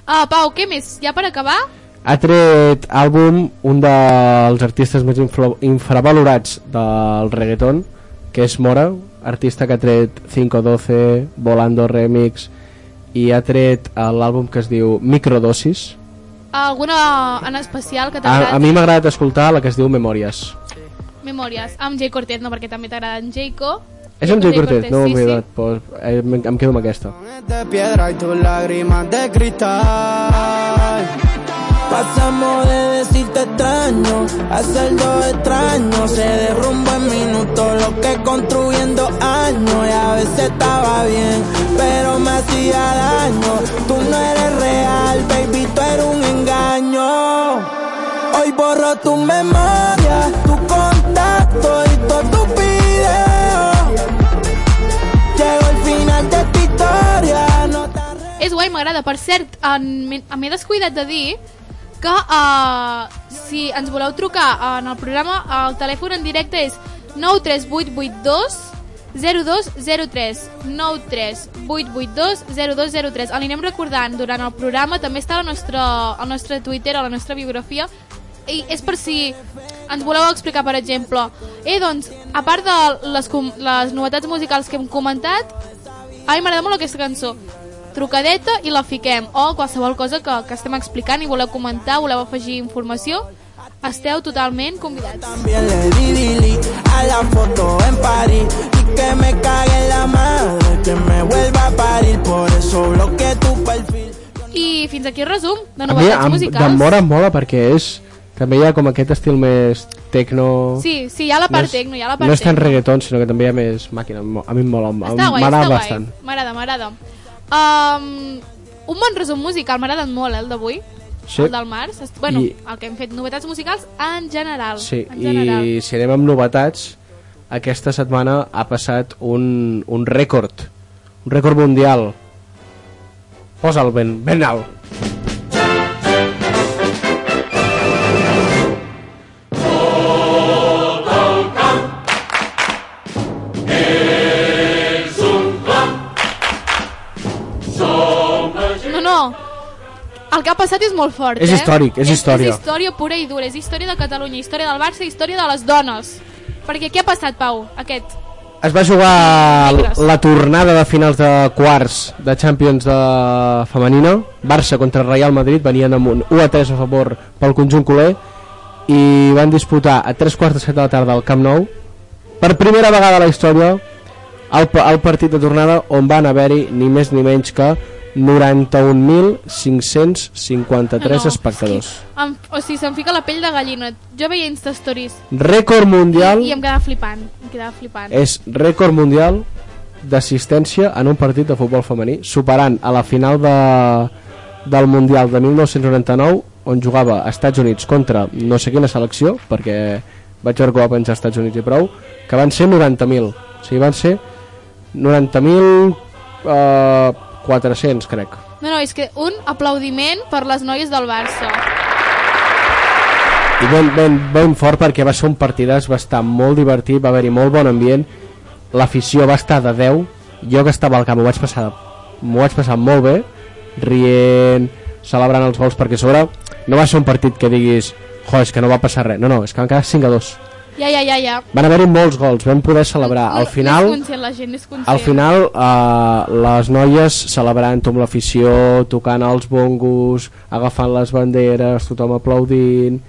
Ah, Pau, què més? Ja per acabar?
Ha tret àlbum un dels artistes més infra infravalorats del reggaeton, que és Mora, artista que ha tret 512, Volando Remix, i ha tret eh, l'àlbum que es diu Microdosis.
Alguna en especial que
A, a
t'agrada?
mi m'ha agradat escoltar la que es diu Memòries.
Memòries. Amb Jay Cortez, no, perquè també t'agrada en Jayco.
És amb Jay Cortez, no m'ho
sí,
he
sí.
agradat, però eh, em, em quedo amb aquesta.
de piedra y tus lágrimas de cristal. Pasamos de decirte extraño a ser dos extraños. Se derrumba en minutos lo que construyendo años. Y a veces estaba bien, pero me hacía daño. Tú no eres real, baby, tú eres un engaño. Hoy borro tu memoria, tu contacto y todos tus videos. Llegó el final de tu historia, no te arrepientas.
És guai, m'agrada. Per cert, en- m'he m'he descuidat de dir que uh, si ens voleu trucar en el programa, el telèfon en directe és 93882 0203 93882 0203 El anirem recordant durant el programa també està al nostre, al nostre Twitter a la nostra biografia i és per si ens voleu explicar per exemple eh doncs a part de les, com- les novetats musicals que hem comentat a mi m'agrada molt aquesta cançó. Trucadeta i la fiquem. O qualsevol cosa que, que estem explicant i voleu comentar, voleu afegir informació, esteu totalment convidats.
También le di delete a la foto en París y que me cague en la madre que me vuelva a parir, por eso bloqueé tu perfil.
I fins aquí el resum de
A mi
novetats
em-
musicals.
de Mora em mola perquè és... També hi ha com aquest estil més tecno...
Sí, sí, hi ha la part tecno, hi ha la part
No és tan
tecno.
reggaeton, sinó que també hi ha més màquina. Em mo- A mi em mola, em-
Està guai, està
m'agrada
guai.
bastant.
M'agrada, m'agrada. Um, un bon resum musical, m'ha agradat molt eh, el d'avui,
Sí.
el del març. Est- Bueno,
I-
el que hem fet, novetats musicals en general.
Sí,
en general.
i si anem amb novetats, aquesta setmana ha passat un, un rècord, un rècord mundial. Posa'l ben, ben alt.
No, no, el que ha passat és molt fort,
És
eh?
històric, és història.
És història pura i dura, és història de Catalunya, història del Barça, història de les dones. Perquè què ha passat, Pau, aquest?
Es va jugar l-
Negres.
la tornada de finals de quarts de Champions de femenina. Barça contra Real Madrid venien amb un 1 a 3 a favor pel conjunt culer i van disputar a 3 quarts de 7 de la tarda al Camp Nou per primera vegada a la història el, pa- el partit de tornada on van haver-hi ni més ni menys que 91.553
No,
espectadors.
és que Em, o sigui, se'm fica la pell de gallina. Jo veia Insta Stories
Rècord mundial Eh.
i em quedava flipant, em quedava flipant.
és rècord mundial d'assistència en un partit de futbol femení, superant a la final de, del Mundial de 1999, on jugava a Estats Units contra no sé quina selecció, perquè vaig veure que ho va penjar als Estats Units i prou, que van ser 90.000. O sigui, van ser 90.000 eh, 400, crec.
No, no, és que un aplaudiment per les noies del Barça.
I ben, ben, ben fort perquè va ser un partidàs, va estar molt divertit, va haver-hi molt bon ambient, l'afició va estar de 10, jo que estava al camp ho vaig passar, de- m'ho vaig passar molt bé, rient, celebrant els gols, perquè a sobre no va ser un partit que diguis jo, és que no va passar res, no, no, és que van quedar 5 a 2.
Ja, ja, ja, ja.
Van haver-hi molts gols, vam poder celebrar, al final...
N'és conscient, la gent n'és conscient.
Al final, eh, les noies celebrant amb l'afició, tocant els bongos, agafant les banderes, tothom aplaudint,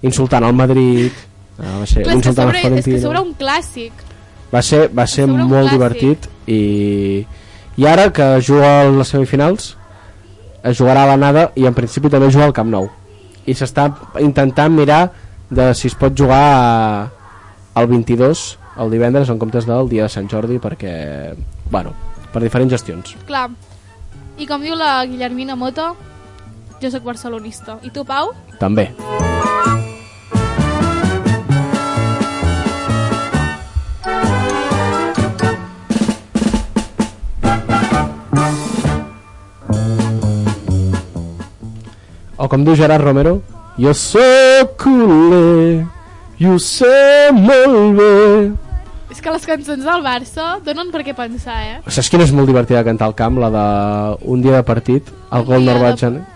insultant el Madrid, eh, va ser,
Clar, és, que
insultant
sobre, és
el
que
Florentino...
sobre un clàssic.
Va ser, va ser
sobre un
molt
clàssic.
divertit i, i ara que juga a les semifinals es jugarà a l'anada i en principi també juga al Camp Nou i s'està intentant mirar de si es pot jugar a- el 22 el divendres en comptes del dia de Sant Jordi perquè, bueno, per diferents gestions
Clar. I com diu la Guillermina Mota, jo sóc barcelonista. I tu, Pau?
també o com diu Gerard Romero jo sóc culer i ho sé molt bé
És que les cançons del Barça donen per què pensar, eh?
saps quina és molt divertida de cantar al camp la de un dia de partit el
dia
gol no el
de-
vaig anar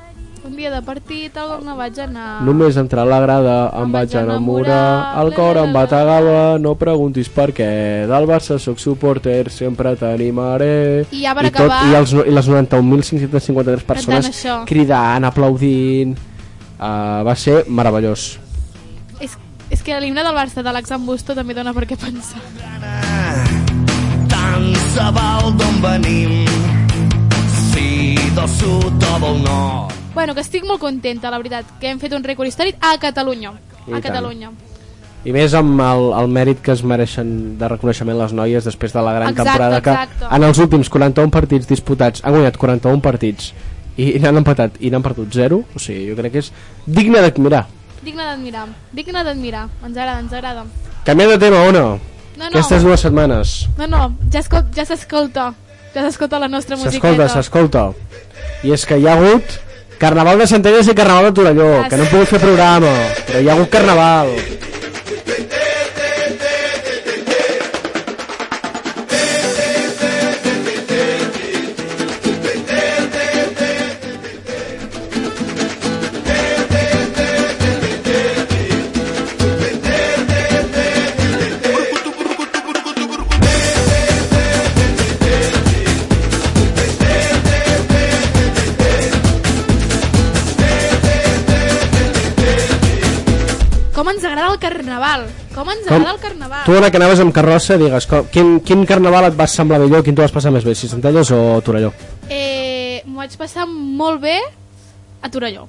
Un dia de partit, el no vaig anar...
Només entrar a la grada em vaig enamorar, el cor em bategava, no preguntis per què, del Barça sóc supporter, sempre t'animaré...
I ja per
I, tot,
acabar-
i, els, no- i les 91.553 persones
això.
cridant, aplaudint... Uh, va ser meravellós.
És, és que l'himne del Barça d'Àlex Ambusto també dona per què pensar.
Tant se val d'on venim, si del sud o del nord.
Bueno, que estic molt contenta, la veritat, que hem fet un rècord històric a Catalunya.
I
a
tant.
Catalunya.
I més amb el, el mèrit que es mereixen de reconeixement les noies després de la gran
Exacte,
temporada que
exacte.
en els últims 41 partits disputats han guanyat 41 partits i n'han empatat i n'han perdut 0 o sigui, jo crec que és digne d'admirar
Digna d'admirar, digna d'admirar. Ens agrada, ens agrada.
Canviem de tema o no?
No, no,
Aquestes dues setmanes.
no, no ja escol- ja s'escolta. Ja s'escolta la nostra
S'escolta,
musiqueta.
s'escolta. I és que hi ha hagut Carnaval de Centelles i Carnaval de Torelló,
Ah,
que no
sí.
hem pogut fer programa, però hi ha hagut Carnaval.
Com ens agrada el carnaval. Com ens
Com-
agrada el carnaval.
Tu, ara que anaves amb carrossa, digues, com, quin, quin carnaval et va semblar millor, quin t'ho vas passar més bé, si Centelles o Torelló?
Eh, m'ho vaig passar molt bé a Torelló.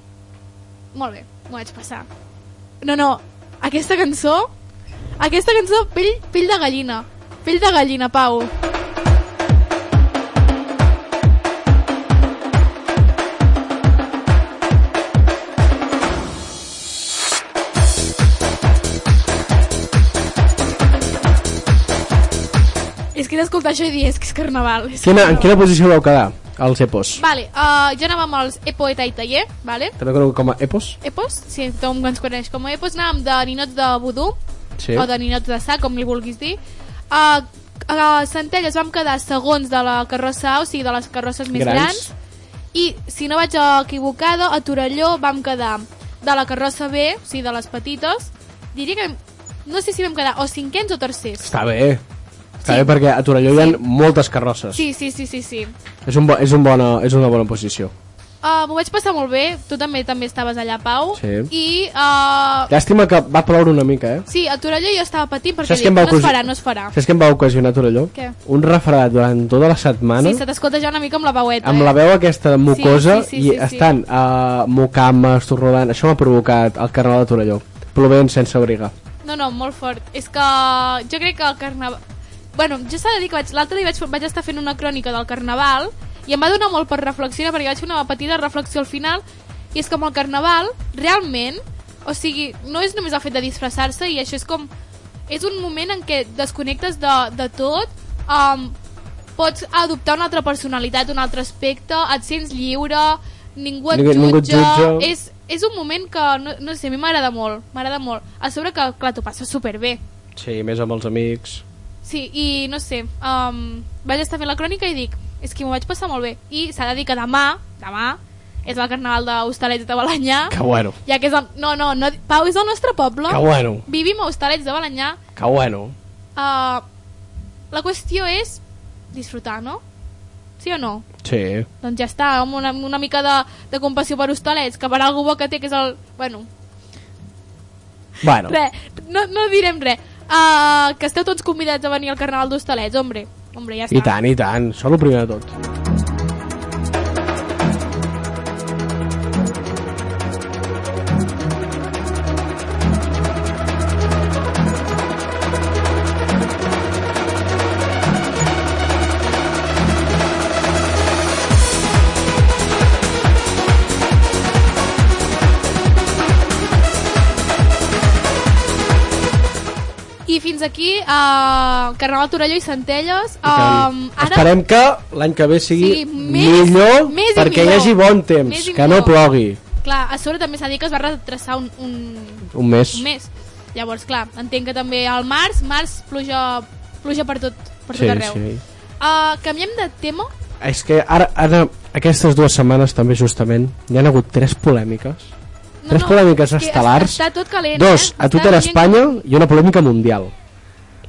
Molt bé, m'ho vaig passar. No, no, aquesta cançó... Aquesta cançó, pell, pell de gallina. Pell de gallina, Pau. És que he d'escoltar això i dir, és que és carnaval. És
Quina, en
carnaval.
quina posició vau quedar, els EPOs?
Vale, uh, jo anava amb els Epo, Eta i Taller, vale?
També conec com a EPOs?
Epos, si tothom ens coneix com a Epos, anàvem de ninots de vudú,
Sí.
o de ninots de sac, com li vulguis dir. Uh, a Centelles vam quedar segons de la carrossa A, o sigui, de les carrosses més
Grans.
grans. I, si no vaig equivocada, a Torelló vam quedar de la carrossa B, o sigui, de les petites. Diria que... No sé si vam quedar o cinquens o tercers.
Està bé. Està
Sí.
bé perquè a Torelló hi
Sí.
ha moltes carrosses.
Sí, sí, sí, sí, sí.
És, un bo, és, un bona, és una bona posició.
Uh, M'ho vaig passar molt bé, tu també també estaves allà, Pau.
Sí.
I uh,
Llàstima que va ploure una mica, eh?
Sí, a Torelló jo estava patint perquè
Saps què
dic,
em
no
va
es
ocasionar?
farà, no es farà.
Saps què em va ocasionar a Torelló?
Què?
Un refredat durant tota la setmana
Sí, se t'escolta ja una mica amb la veueta,
amb
eh?
la veu aquesta de mucosa
Sí, sí, sí,
i
sí, sí.
estan a mucames, torrolant... Això m'ha provocat el carnaval de Torelló. Plovent sense abrigar.
No, no, molt fort. És que jo crec que el carnaval... Bueno, jo s'ha de dir que vaig... l'altre dia vaig, vaig estar fent una crònica del carnaval i em va donar molt per reflexionar perquè vaig fer una petita reflexió al final i és que amb el carnaval, realment, o sigui, no és només el fet de disfressar-se i això és com... És un moment en què desconnectes de, de tot, um, pots adoptar una altra personalitat, un altre aspecte, et sents lliure, ningú et
Ningú-
jutja,
ningú et jutja.
És, és un moment que, no, no sé, a mi m'agrada molt, m'agrada molt. A sobre que, clar, t'ho passes superbé.
Sí, més amb els amics.
Sí, i no sé, um, vaig estar fent la crònica i dic, és que m'ho vaig passar molt bé. I s'ha de dir que demà, demà, és el carnaval d'Hostalets de Balanyà.
Que bueno,
Ja que és el... No, no, no, Pau, és el nostre poble.
que bueno,
Vivim a Hostalets de Balanyà.
que bueno.
Uh, la qüestió és disfrutar, no? Sí o no?
Sí.
Doncs ja està, amb una, amb una mica de, de compassió per hostalets, que per algú bo que té, que és el... Bueno,
Bueno,
Re, no, no direm res. Uh, que esteu tots convidats a venir al Carnaval d'Hostalets, hombre. Hombre, ja està.
i tant, i tant. Això és el primer de tot.
I fins aquí uh, Carnaval Torelló i Centelles.
I tant.
Um, ara,
Esperem que l'any que ve sigui
Sigui més-
millor
més i
perquè
millor.
hi hagi bon temps,
Més i
que no
millor.
plogui.
clar, a sobre també s'ha dit que es va retrasar un, un,
Un mes.
un mes. Llavors, clar, entenc que també al març, març, pluja, pluja per tot, per
Sí,
tot arreu.
sí.
Uh, canviem de tema?
És que ara, ara, aquestes dues setmanes també justament, hi han hagut tres polèmiques. Tres polèmiques
és que
estel·lars.
Està tot calent,
Dos,
eh?
a
Està
Twitter
la gent-
Espanya i una polèmica mundial.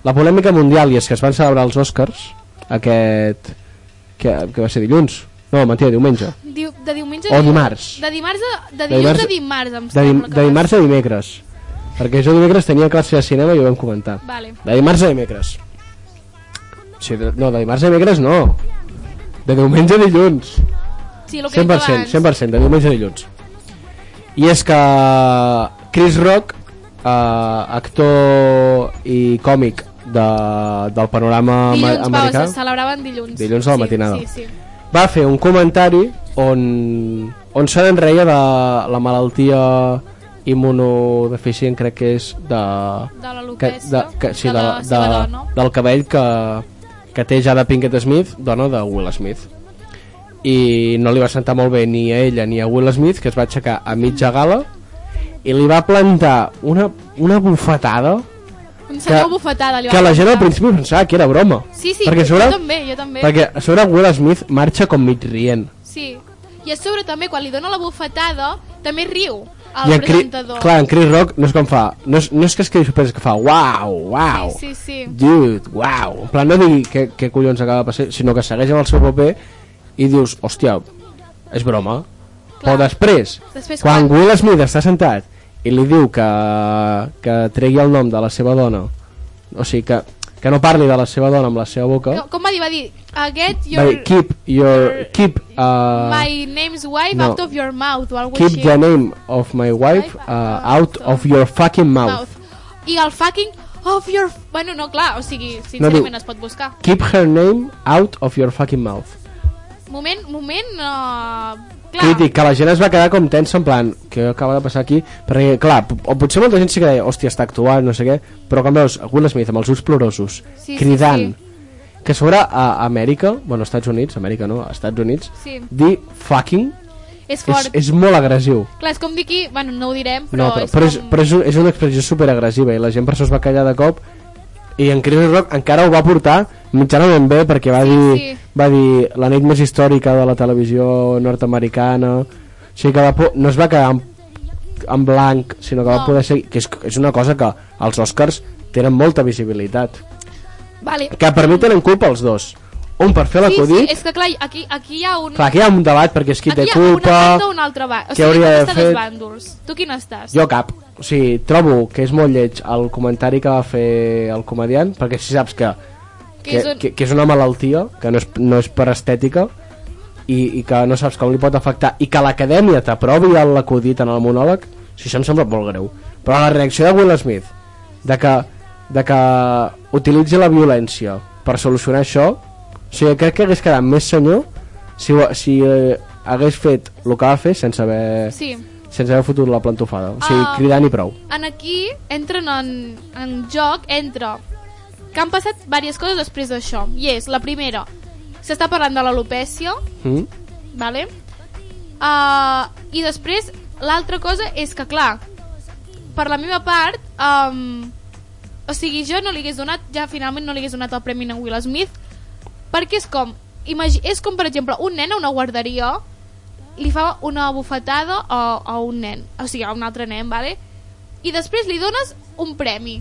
La polèmica mundial i és que es van celebrar els Oscars aquest... que, que va ser dilluns. No, mentida, diumenge.
Diu, de diumenge...
O
a
dimarts.
De dimarts a, de
De
dilluns
dimarts-
a dimarts, em
De, dim
sembla que
de
va
dimarts a dimecres. Perquè jo dimecres tenia classe de cinema i ho vam comentar.
ser. Vale.
De dimarts a dimecres. Sí, de, no, de dimarts a dimecres no. De diumenge a dilluns.
Sí, el que he dit
100%,
abans.
100%, de diumenge a dilluns. I és que Chris Rock, eh, actor i còmic de, del panorama ama-
Dilluns,
americà,
va, se celebraven dilluns.
Dilluns a la
sí,
matinada.
Sí, sí.
va fer un comentari on, on se n'enreia de la malaltia immunodeficient, crec que és, de...
De la
que, de,
Luquesa.
que, sí, de,
la
de,
seva dona.
del cabell que, que té ja de Pinkett Smith, dona de Will Smith. I no li va sentar molt bé ni a ella ni a Will Smith, que es va aixecar a mitja gala, i li va plantar una, una bufetada
Un senyor
que-
bufetada li va
que la gent al
plantar.
principi pensava que era broma.
Sí, sí,
perquè a
jo
sobre,
també, jo també.
Perquè a sobre Will Smith marxa com mig rient.
Sí. I a sobre també, quan li dona la bufetada, també riu
I
el
en Chris,
presentador.
clar, en Chris Rock no és com fa... No és, no és que es quedi sorprès, és que fa uau, uau.
Sí, sí, sí.
Dude, wow. En plan, no digui què, què collons acaba de passar, sinó que segueix amb el seu paper i dius, hòstia, és broma. Clar.
Clar.
Però després,
Després
quan
quan?
Will Smith està sentat i li diu que, que tregui el nom de la seva dona o sigui que, que no parli de la seva dona amb la seva boca
Com va dir? Va dir, "Uh, get
va
your...
dir keep your
your-
keep, uh,
My name's wife
no.
out of your mouth o alguna
keep the name of my wife uh, out of your fucking mouth
I el fucking of your... Bueno, no, clar, o sigui,
No
sincerament
diu-
es pot buscar.
keep her name out of your fucking mouth
Moment, moment... Uh, clar,
Crític, que la gent es va quedar com tensa en plan, què acaba de passar aquí? Perquè, clar, p- o potser molta gent sí que deia, hòstia, està actuant, no sé què, però com veus, Will Smith amb els ulls plorosos,
Sí, sí,
cridant, que a sobre a Amèrica, bueno, Estats Units, Amèrica no, Estats Units,
Sí.
dir fucking
és
és,
fort.
és molt agressiu.
Clar, és com dir aquí... Bueno, no ho direm, però,
No, però, però, és,
com...
però és, un- és una expressió superagressiva i la gent per això es va callar de cop i en Chris Rock encara ho va portar mitjanament bé perquè va
Sí,
dir,
sí.
va dir la nit més històrica de la televisió nord-americana o sigui que va, po- no es va quedar en, en blanc sinó que va
No.
poder ser que és, és una cosa que els Oscars tenen molta visibilitat
Vale.
que per mi tenen culpa els dos un per fer
Sí, sí,
l'acudit
és que clar, aquí, aquí hi ha un...
clar, aquí hi ha un debat perquè és qui
aquí
té
hi ha un
culpa
efecte o un altre bàndol. O
què
sigui,
hauria
tot
de
està
fer?
dos bàndols. Tu quin estàs?
Jo cap. O sigui, trobo que és molt lleig el comentari que va fer el comediant, perquè si saps que, que,
és un-
que, que és una malaltia, que no és, no és per estètica, i, i que no saps com li pot afectar, i que l'acadèmia t'aprovi el l'acudit en el monòleg, o sigui, això em sembla molt greu. Però la reacció de Will Smith, de que, de que utilitzi la violència per solucionar això, o sigui, crec que hagués quedat més senyor si, ho- si eh, hagués fet el que va fer sense haver
Sí.
sense haver fotut la plantofada. O sigui,
Ah.
cridant i prou.
en aquí entren en, en joc entre que han passat diverses coses després d'això i és la primera s'està parlant de l'alopècia
Mm?
vale? uh, i després l'altra cosa és que clar per la meva part um, o sigui jo no li hagués donat ja finalment no li hagués donat el premi a Will Smith perquè és com imagi- és com per exemple un nen a una guarderia li fa una bufetada a, a un nen o sigui a un altre nen vale? i després li dones un premi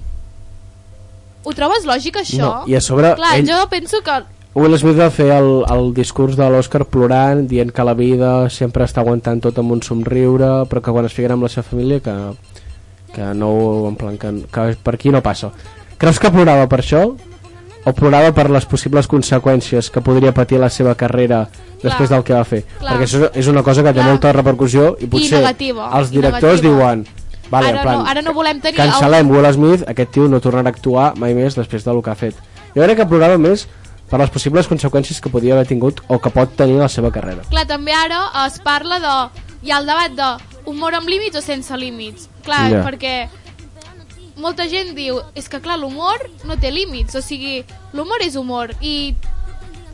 ho trobes lògic això?
No, i a sobre
clar,
ell-
jo penso que
Will Smith va fer el, el discurs de l'Oscar plorant, dient que la vida sempre està aguantant tot amb un somriure, però que quan es fiquen amb la seva família que, que no ho- en plan, que, que per aquí no passa. Creus que plorava per això? O plorava per les possibles conseqüències que podria patir la seva carrera després del que va fer?
Clar.
Perquè això és una cosa que
Clar.
té molta repercussió i potser
negativa,
els
i
directors
negativa.
diuen vale,
Ara
en plan,
no- ara no volem tenir
cancel·lem Will Smith, aquest tio no tornarà a actuar mai més després del que ha fet. Jo crec que plorava més per les possibles conseqüències que podia haver tingut o que pot tenir la seva carrera.
Clar, també ara es parla de... Hi ha el debat de humor amb límits o sense límits. Clar,
Ja.
yeah. perquè molta gent diu és que clar, l'humor no té límits, o sigui, l'humor és humor i,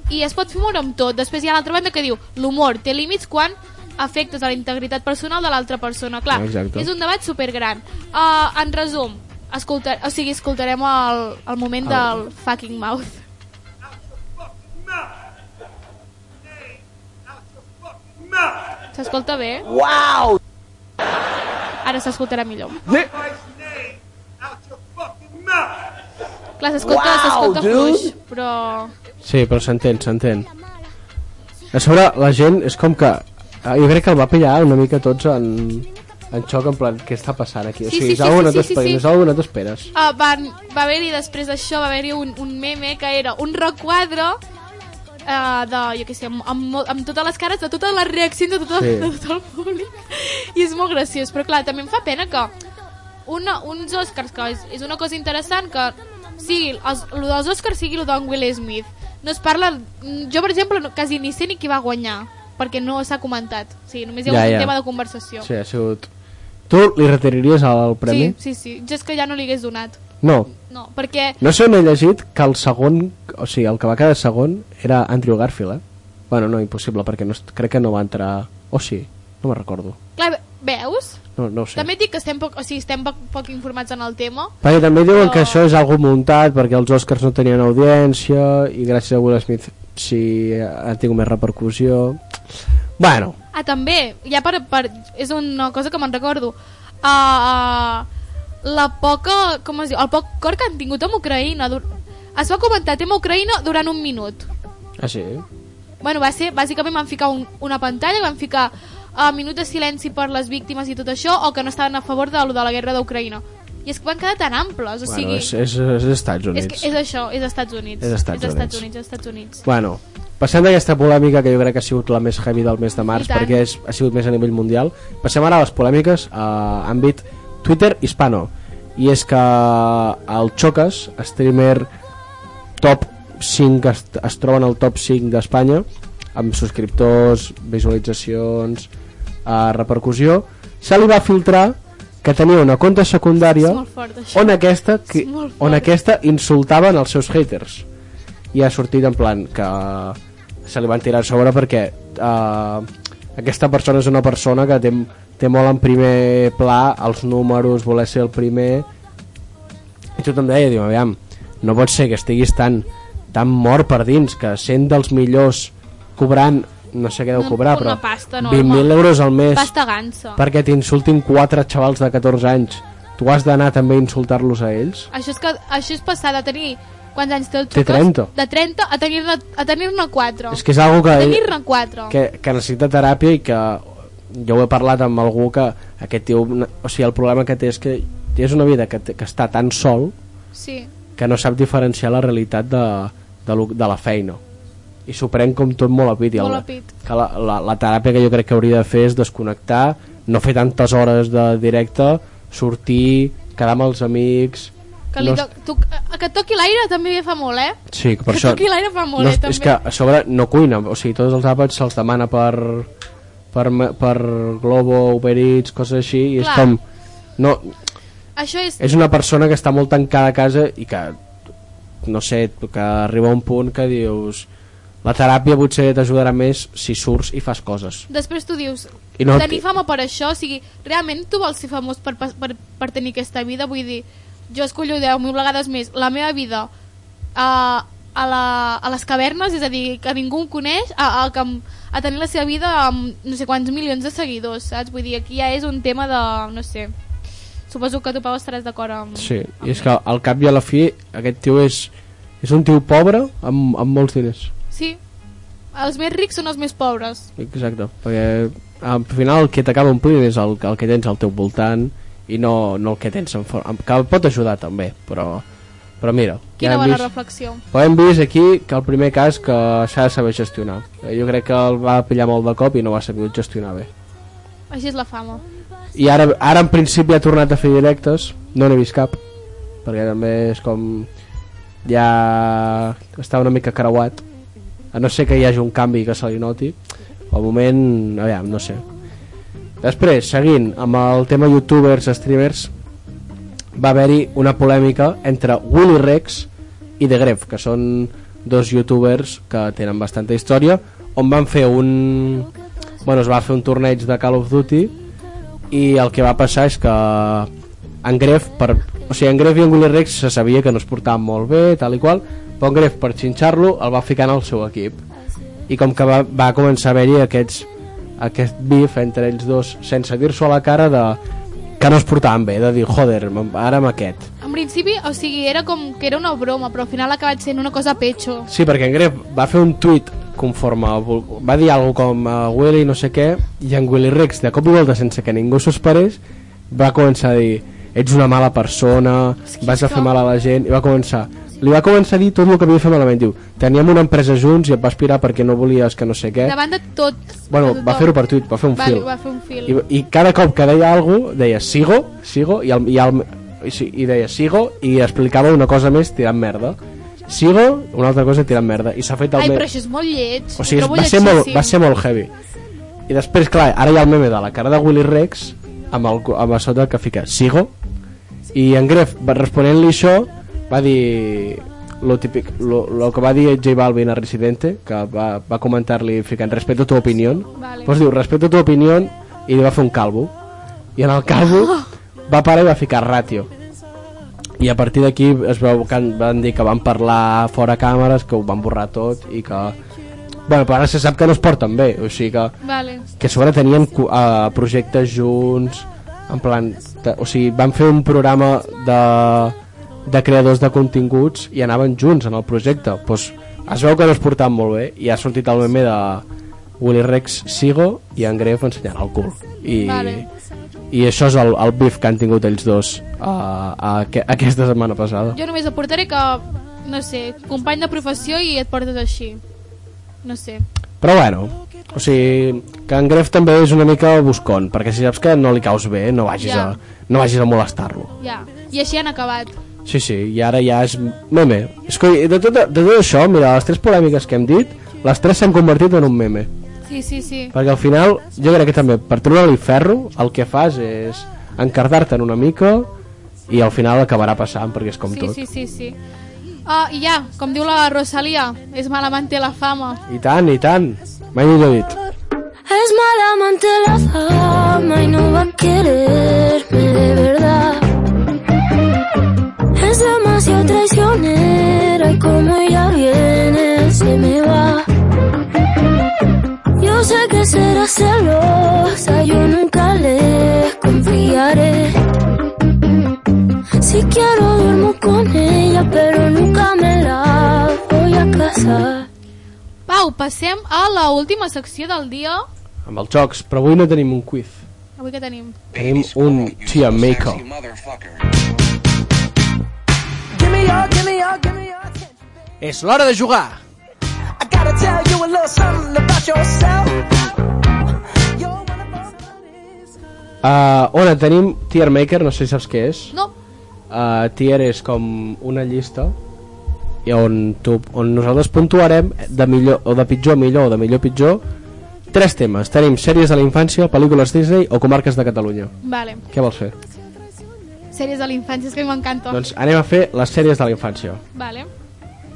i es pot fer humor amb tot. Després hi ha l'altra banda que diu l'humor té límits quan afectes a la integritat personal de l'altra persona. Clar,
Exacte.
és un debat supergran. Uh, en resum, escolta, o sigui, escoltarem el, el moment del fucking mouth. S'escolta bé? Wow! Ara s'escoltarà millor. Clar, s'escolta wow, fluix, però...
Sí, però s'entén, s'entén. A sobre, la gent és com que... eh, Jo crec que el va pillar una mica tots en, en xoc, en plan, què està passant aquí? o
Sí,
sigui,
sí,
és
sí,
algo
sí,
no
sí, sí,
t'esperes,
sí.
és algo no t'esperes.
Uh, van, va haver-hi, després d'això, va haver-hi un, un meme que era un rock quadre uh, de, jo què sé, amb, amb, mo- amb totes les cares, de totes les reaccions de tot, el,
Sí.
de tot el públic. I és molt graciós, però clar, també em fa pena que una, uns Oscars, que és, és una cosa interessant que sigui, els, el dels Oscars sigui el d'en Will Smith. No es parla... Jo, per exemple, no, quasi ni sé ni qui va guanyar, perquè no s'ha comentat. O sigui, només hi ha
Ja,
ja, un
ja.
tema de conversació.
Sí, ha sigut... Tu li retiraries el premi?
sí, sí, sí. Jo és que ja no li hagués donat.
No,
No, perquè...
No sé on he llegit que el segon, o sigui, el que va quedar segon era Andrew Garfield, eh? Bueno, no, impossible, perquè no, est- crec que no va entrar... O oh, sí, no me'n recordo.
Clar, ve- veus?
No, no ho
Sí.
sé.
També et dic que estem poc, o sigui, estem poc, poc informats en el tema.
Perquè també diuen
Però-
que això és algo muntat perquè els Oscars no tenien audiència i gràcies a Will Smith sí, ha tingut més repercussió. Bueno,
Ah, també, ja per, per, és una cosa que me'n recordo. Uh, la poca, com es diu, el poc cor que han tingut amb Ucraïna. Dur- Es va comentar tema Ucraïna durant un minut.
ah, sí?
Bueno, va ser, bàsicament van ficar un, una pantalla, van ficar uh, uh, minut de silenci per les víctimes i tot això, o que no estaven a favor de, lo de la guerra d'Ucraïna. I és que van quedar tan amples, o
Bueno,
sigui...
és, és, és Estats Units.
és, que és això, és Estats Units.
És Estats
és Estats
Units.
Units, Estats Units.
Bueno, passem d'aquesta polèmica que jo crec que ha sigut la més heavy del mes de març
I tant.
perquè és, ha sigut més a nivell mundial passem ara a les polèmiques a àmbit Twitter hispano i és que el Chocas streamer top 5 que es, es troba en el top 5 d'Espanya amb subscriptors, visualitzacions eh, repercussió se li va filtrar que tenia una conta secundària
És molt fort, això.
on aquesta, que,
És molt fort.
on aquesta insultaven els seus haters i ha sortit en plan que se li van tirar a sobre perquè eh, aquesta persona és una persona que té, té molt en primer pla els números, voler ser el primer i tothom deia, diu, aviam no pot ser que estiguis tan tan mort per dins, que sent dels millors cobrant, no sé què deu
Una-
cobrar
una
però
pasta enorme.
20.000 euros al mes
Pasta gansa.
perquè t'insultin quatre xavals de 14 anys tu has d'anar també a insultar-los a ells
Això és, que, això és passar de tenir... Quants anys té el
Té
Xucas?
30.
De 30 a tenir-ne a tenir 4.
és que és algo que,
A tenir-ne 4.
que, que necessita teràpia i que jo ho he parlat amb algú que aquest tio, o sigui el problema que té és que és una vida que, té- que està tan sol
Sí.
que no sap diferenciar la realitat de, de, lo, de la feina i s'ho pren com tot molt a pit, i
Molt
el-
a pit.
que la, la, la teràpia que jo crec que hauria de fer és desconnectar no fer tantes hores de directe sortir, quedar amb els amics
Que, li
no,
to tu, a- que et toqui l'aire també fa molt, eh?
sí, que per
que
això,
toqui l'aire fa molt, eh,
no, és- és
també.
que a sobre no cuina o sigui, tots els àpats se'ls demana per, per, me- per Globo, Uber Eats coses així, i és
Clar.
com no,
Això és...
és una persona que està molt tancada a casa i que no sé, que arriba a un punt que dius la teràpia potser t'ajudarà més si surts i fas coses
Després tu dius,
I
I
no-
no, tenir fama per això, o sigui, realment tu vols ser famós per, pas- per, per tenir aquesta vida? Vull dir, jo escollo 10.000 vegades més la meva vida a, a, la, a les cavernes, és a dir, que ningú em coneix, a, a, que, em- a tenir la seva vida amb no sé quants milions de seguidors, saps? Vull dir, aquí ja és un tema de, no sé, suposo que tu, Pau, estaràs d'acord amb...
sí, i és que al cap i a la fi aquest tio és, és un tio pobre amb, amb molts diners
Sí, els més rics són els més pobres.
Exacte, perquè al final el que t'acaba omplint és el, el que tens al teu voltant i no, no el que tens en forma, que pot ajudar també, però, però mira,
Quina
hem
bona
vist,
reflexió.
però hem vist aquí que el primer cas que s'ha de saber gestionar. Eh, Jo crec que el va pillar molt de cop i no va saber gestionar bé.
Així és la fama.
I ara, ara en principi ha tornat a fer directes, no n'he vist cap, perquè també és com... ja està una mica creuat, a no ser que hi hagi un canvi que se li noti, al moment, aviam, no sé. Després, seguint amb el tema youtubers, streamers, va haver-hi una polèmica entre Willy Rex i The Gref, que són dos youtubers que tenen bastanta història, on van fer un... Bueno, es va fer un torneig de Call of Duty i el que va passar és que en Gref, per, o sigui, en Gref i en Willy Rex se sabia que no es portaven molt bé, tal i qual, però en Gref, per xinxar-lo, el va ficar en el seu equip. I com que va, va començar a haver-hi aquests aquest bif entre ells dos sense dir-s'ho a la cara de que no es portaven bé, de dir, joder, m- ara amb aquest.
En principi, o sigui, era com que era una broma, però al final ha acabat sent una cosa a pecho.
Sí, perquè en Gref va fer un tuit conforme vol- va dir alguna com a Willy no sé què i en Willy Rex de cop i volta sense que ningú s'ho esperés va començar a dir ets una mala persona, vas a fer mal a la gent i va començar li va començar a dir tot el que havia fet malament diu, teníem una empresa junts i et vas pirar perquè no volies que no sé què
Davant de tot.
Eh? bueno,
de tothom.
va fer-ho per tuit, va fer un
va,
fil
Va fer un fil.
I, i cada cop que deia algo deia sigo, sigo i, el, i, el, i, sí, i deia sigo i explicava una cosa més tirant merda sigo, una altra cosa tirant merda i s'ha fet el
Ai,
me-
però això és molt lleig.
o sigui,
ho
és-
trobo
va ser, molt,
lletjíssim.
va ser molt heavy i després, clar, ara hi ha el meme de la cara de Willy Rex amb, el, cu- amb a sota que fica sigo i en Gref, va- responent-li això va dir lo, típic, lo, lo que va dir J Balvin a Residente que va, va comentar-li ficant respeto tu opinión
Vale.
pues diu respeto tu opinión i li va fer un calvo i en el calvo va parar i va ficar ratio i a partir d'aquí es veu que en- van dir que van parlar fora càmeres que ho van borrar tot i que bueno, però ara se sap que no es porten bé o sigui que
Vale.
que a sobre tenien uh, projectes junts en plan, te- o sigui, van fer un programa de, de creadors de continguts i anaven junts en el projecte pues, es veu que no es portaven molt bé i ha sortit el meme de Willy Rex Sigo i en Gref ensenyant el cul. I,
Vale.
i això és el, el beef que han tingut ells dos uh, a, aque- aquesta setmana passada.
Jo només aportaré que, no sé, company de professió i et portes així. No sé.
Però bueno, o sigui, que en Gref també és una mica buscon, perquè si saps que no li caus bé, no vagis
Ja.
a, no vagis a molestar-lo.
Ja. I així han acabat.
Sí, sí, i ara ja és meme. És que de tot, de tot això, mira, les tres polèmiques que hem dit, les tres s'han convertit en un meme.
Sí, sí, sí.
Perquè al final, jo crec que també, per trobar-li ferro, el que fas és encardar-te'n una mica i al final acabarà passant, perquè és com
sí,
tot.
sí, sí, sí. Ah, I ja, com diu la Rosalia, és malament té la fama.
I tant, i tant. Mai millor dit.
Es malamente la fama y no va a quererme de verdad. Es demasiado traicionera y como ella viene se me va. Yo sé que será celosa, yo nunca le confiaré. Si quiero duermo con ella, pero nunca me la voy a casar.
Pau, passem a la última secció del dia.
Amb els jocs, però avui no tenim un quiz.
Avui que tenim?
Tenim un Tia Maker.
Give me your, give me your, give me your attention.
És l'hora de jugar!
I gotta tell you a little something about yourself. You're one of my
Uh, on tenim Tier Maker, no sé si saps què és.
No,
Uh, tier és com una llista i on, tu, on nosaltres puntuarem de, millor, o de pitjor a millor o de millor a pitjor tres temes. Tenim sèries de la infància, pel·lícules Disney o comarques de Catalunya.
vale.
Què vols fer?
Sèries de la infància, és que m'encanta.
Doncs anem a fer les sèries de la infància.
Vale,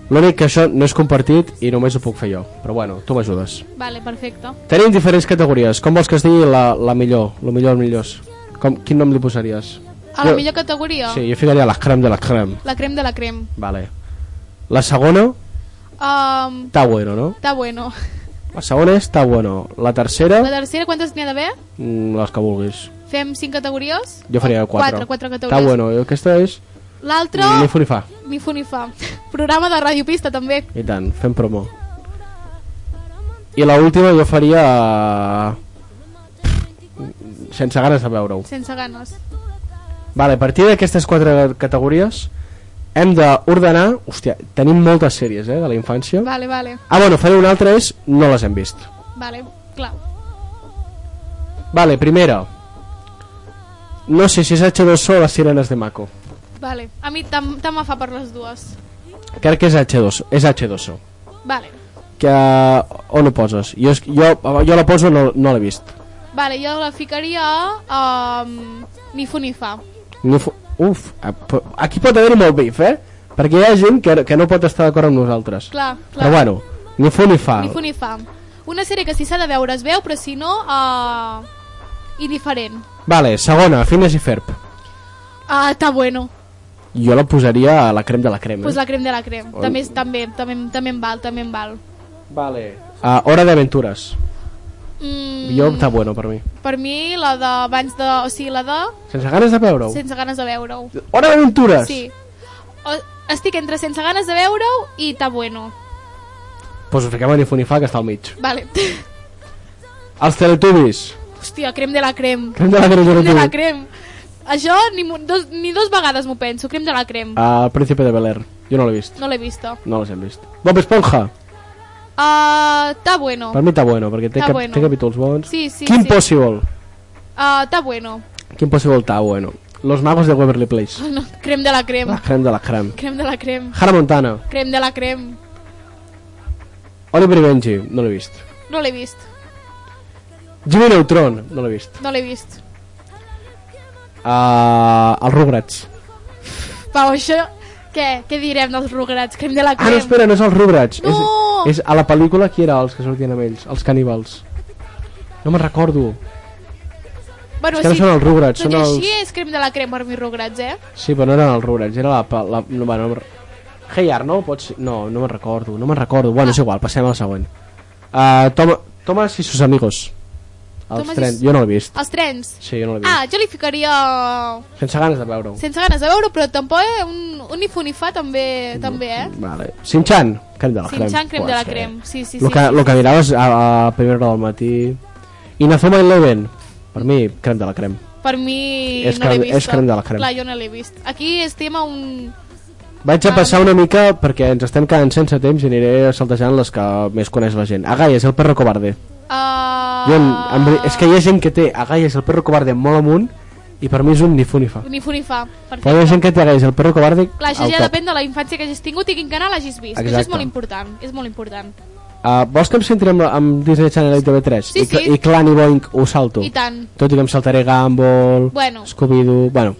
L'únic que això no és compartit i només ho puc fer jo. Però bueno, tu m'ajudes.
vale, perfecte.
Tenim diferents categories. Com vols que es digui la, la millor? La millor, els millors. Com, quin nom li posaries?
A la
Jo-
millor categoria,
Sí, jo ficaria la crem de la crem.
la crem de la crem.
Vale. La segona,
Um,
està bueno, no?
Està bueno.
La segona és està bueno. La tercera,
La tercera, quantes n'hi ha d'haver?
mm, les que vulguis.
Fem cinc categories?
Jo faria
O
quatre.
Quatre, quatre
Està
categories.
bueno. I Aquesta és
L'altra,
ni fu ni fa.
mi fu ni fa. Programa de Radio Pista, també.
I tant, fem promo. I la última jo faria... mm, Sense ganes de veure-ho.
Sense ganes.
Vale, a partir d'aquestes quatre categories hem d'ordenar... Hòstia, tenim moltes sèries, eh, de la infància.
Vale, vale,
Ah, bueno, faré una altra és no les hem vist.
vale, clar.
Vale, primera. No sé si és H2O o les sirenes de Mako.
Vale. A mi tant tant me fa per les dues.
Crec que és H2O. És H2O.
Vale.
Que, on ho poses? Jo, és- jo, jo la poso no, no l'he vist.
Vale, jo la ficaria a... Um, ni fu ni fa.
No, fo- uf, a- po- aquí pot haver-hi molt bif, eh? Perquè hi ha gent que, que no pot estar d'acord amb nosaltres.
Clar, clar.
Però Ah, bueno, ni fu ni fa.
Ni fu ni fa. Una sèrie que si s'ha de veure es veu, però si no... Uh, indiferent.
Vale, segona, Fines i Ferb.
Ah, està bueno.
Jo la posaria a la crem de la crema. eh?
Pues la crem de la crem. També, és- també, també, també em val, també em val.
Vale. A Hora d'Aventures.
Mm,
Jo està bueno per mi.
Per mi, la de abans de... O sigui, la de...
Sense ganes de veure-ho.
Sense ganes de veure-ho.
Hora d'Aventures!
Sí. O, estic entre sense ganes de veure-ho i està bueno.
Pues ho fiquem a ni fu ni fa, que està al mig.
Vale.
Els Teletubbies.
Hòstia, crem de la crem.
Crem de la crema
Crem de la
Teletubbies.
crem. Això ni, mo- dos, ni dos vegades m'ho penso. Crem de la crem.
Ah, El Príncipe de Bel-Air. Jo no l'he vist.
No l'he vista.
No les hem vist. Bob Esponja.
Ah, Està bueno.
Per mi està bueno, perquè té,
Està
cap,
bueno.
té capítols bons.
Sí, sí,
Kim
sí.
Possible.
Ah, Està bueno.
Kim Possible està bueno. Los magos de Waverly Place.
No, crem de la crem.
La crem de la crem.
Crem de la crem.
Hannah Montana.
Crem de la crem.
Oliver i Benji. No l'he vist.
No l'he vist.
Jimmy Neutron. No l'he vist.
No l'he vist.
Uh, els Rugrats.
Pau, això... Què? Què direm dels rugrats? Crem de la
Ah,
crem.
no, espera, no és els Rugrats.
No!
És, és a la pel·lícula qui era els que sortien amb ells? Els caníbals. No me'n recordo.
bueno,
és que no són els rugrats,
tot
són
i
els-
així és crem de la crem per mi rugrats, eh?
Sí, però no eren els Rugrats, era la... pa- la no, bueno, no me'n re- hey Arnold, pots... No, no
Ah.
me'n Ah, recordo, no me'n recordo. Bueno, és igual, passem al següent. Uh, Tom, Thomas i sus amigos.
m'has
Els
dit-
trens. Jo no l'he vist.
Els trens.
Sí, jo no l'he vist.
Ah, jo li ficaria...
Sense ganes de veure-ho.
Sense ganes de veure però tampoc eh? un, un ni fu ni fa també, també eh?
Vale. Sinchan, crem de la crem.
Sinchan, crem de la
Pot ser.
crem. Sí, sí, sí.
Lo que, lo que miraves a, a primera hora del matí. Inazuma Eleven, per mi, crem de la crem.
Per mi
És
no l'he
crem-
vist.
és crem de la crem.
Clar, jo no l'he vist. Aquí estem a un...
Vaig a passar una mica perquè ens estem quedant sense temps i aniré saltejant les que més coneix la gent. Agai és el perro cobarde.
Uh,
Jo, en, en, veri- és que hi ha gent que té Agai és el perro cobarde molt amunt i per mi és un ni fu ni fa.
Ni fu ni fa.
Però hi ha gent que té Agai és el perro cobarde
Clar, això
al
ja
top.
depèn de la infància que hagis tingut i quin canal hagis vist. que Això és
Exacte.
molt important. És molt important.
Uh, vols que em centri amb, amb Disney Channel i TV3?
Sí,
I, cl-
sí.
I Clan i Boink ho salto.
I tant.
Tot i que em saltaré Gumball,
Bueno.
Scooby-Doo... Bueno,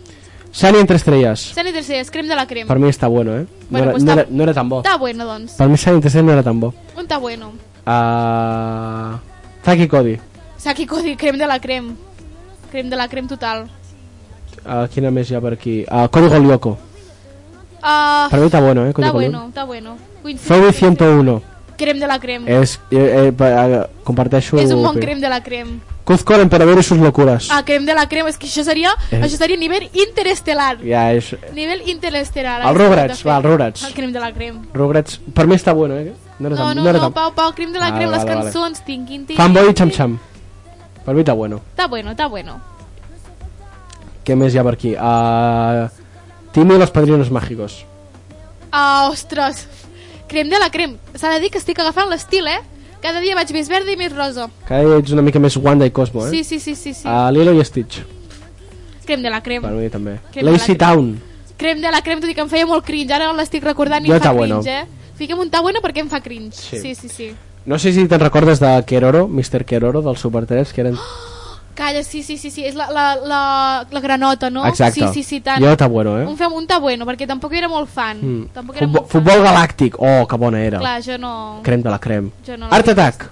Sunny entre estrelles.
Sani tercer, és crem de la crem.
Per mi està bueno, eh?
Bueno,
no, era,
pues
no,
està-
era, no era tan bo.
Està bueno, doncs.
Per mi Sunny entre estrelles no era tan bo.
Un està bueno.
Uh, Taki Cody.
Saki Cody, crem de la crem. Crem de la crem total.
Uh, quina més hi ha per aquí? Uh, Cody Golioco.
Uh,
Per mi està bueno, eh? Cody
Está
Golioco.
bueno, está bueno.
Zoe 101.
Crem de la crem.
És, eh, eh, pa- eh, comparteixo...
és un bon
opinió.
crem de la crem.
Cuzco en Emperador i sus locures.
Ah, crem de la crem, és que això seria,
Eh.
això seria nivell interestelar.
Ja, és...
Nivell interestelar.
El Rugrats, va, el Rugrats.
El crem de la crem.
Rugrats, per mi està bueno, eh? No era
No,
tan,
no,
no era
no,
tan...
Pau, Pau, crem de la
Ah, Vale,
crem, les
vale, vale.
cançons, tin, tin, tin.
Fanboy i Cham Cham. Per mi està bueno.
Está bueno, está bueno.
Què més hi ha per aquí? Uh, Timmy i los padrinos mágicos.
Ah, ostres. Crem de la crem. S'ha de dir que estic agafant l'estil, eh? Cada dia vaig més verda i més rosa.
Cada dia ets una mica més Wanda i Cosmo, eh?
Sí, sí, sí, sí, sí.
Uh, Lilo i Stitch,
crem de la crem.
per mi també.
Crem de
Lazy
la
Town.
Crem de la crem, tot i que em feia molt cringe. Ara l'estic recordant i
Jo
em fa
Tá Bueno.
cringe, eh? Fiquem un ta bueno perquè em fa cringe.
Sí.
sí, sí. sí.
No sé si te'n recordes de Keroro, Mr. Keroro, del Super 3, que eren...
Calla, sí, sí, sí, sí, és la, la, la, la granota, no?
Exacte.
Sí, sí, sí, tant.
Jo, Tá Bueno, eh?
Un fem un tabueno, perquè tampoc era molt fan.
Mm.
Tampoc era
Futbol,
molt fan.
futbol galàctic. Oh, que bona era.
Clar, jo no...
Crem de la crem.
Jo no
Art
l'he
Attack.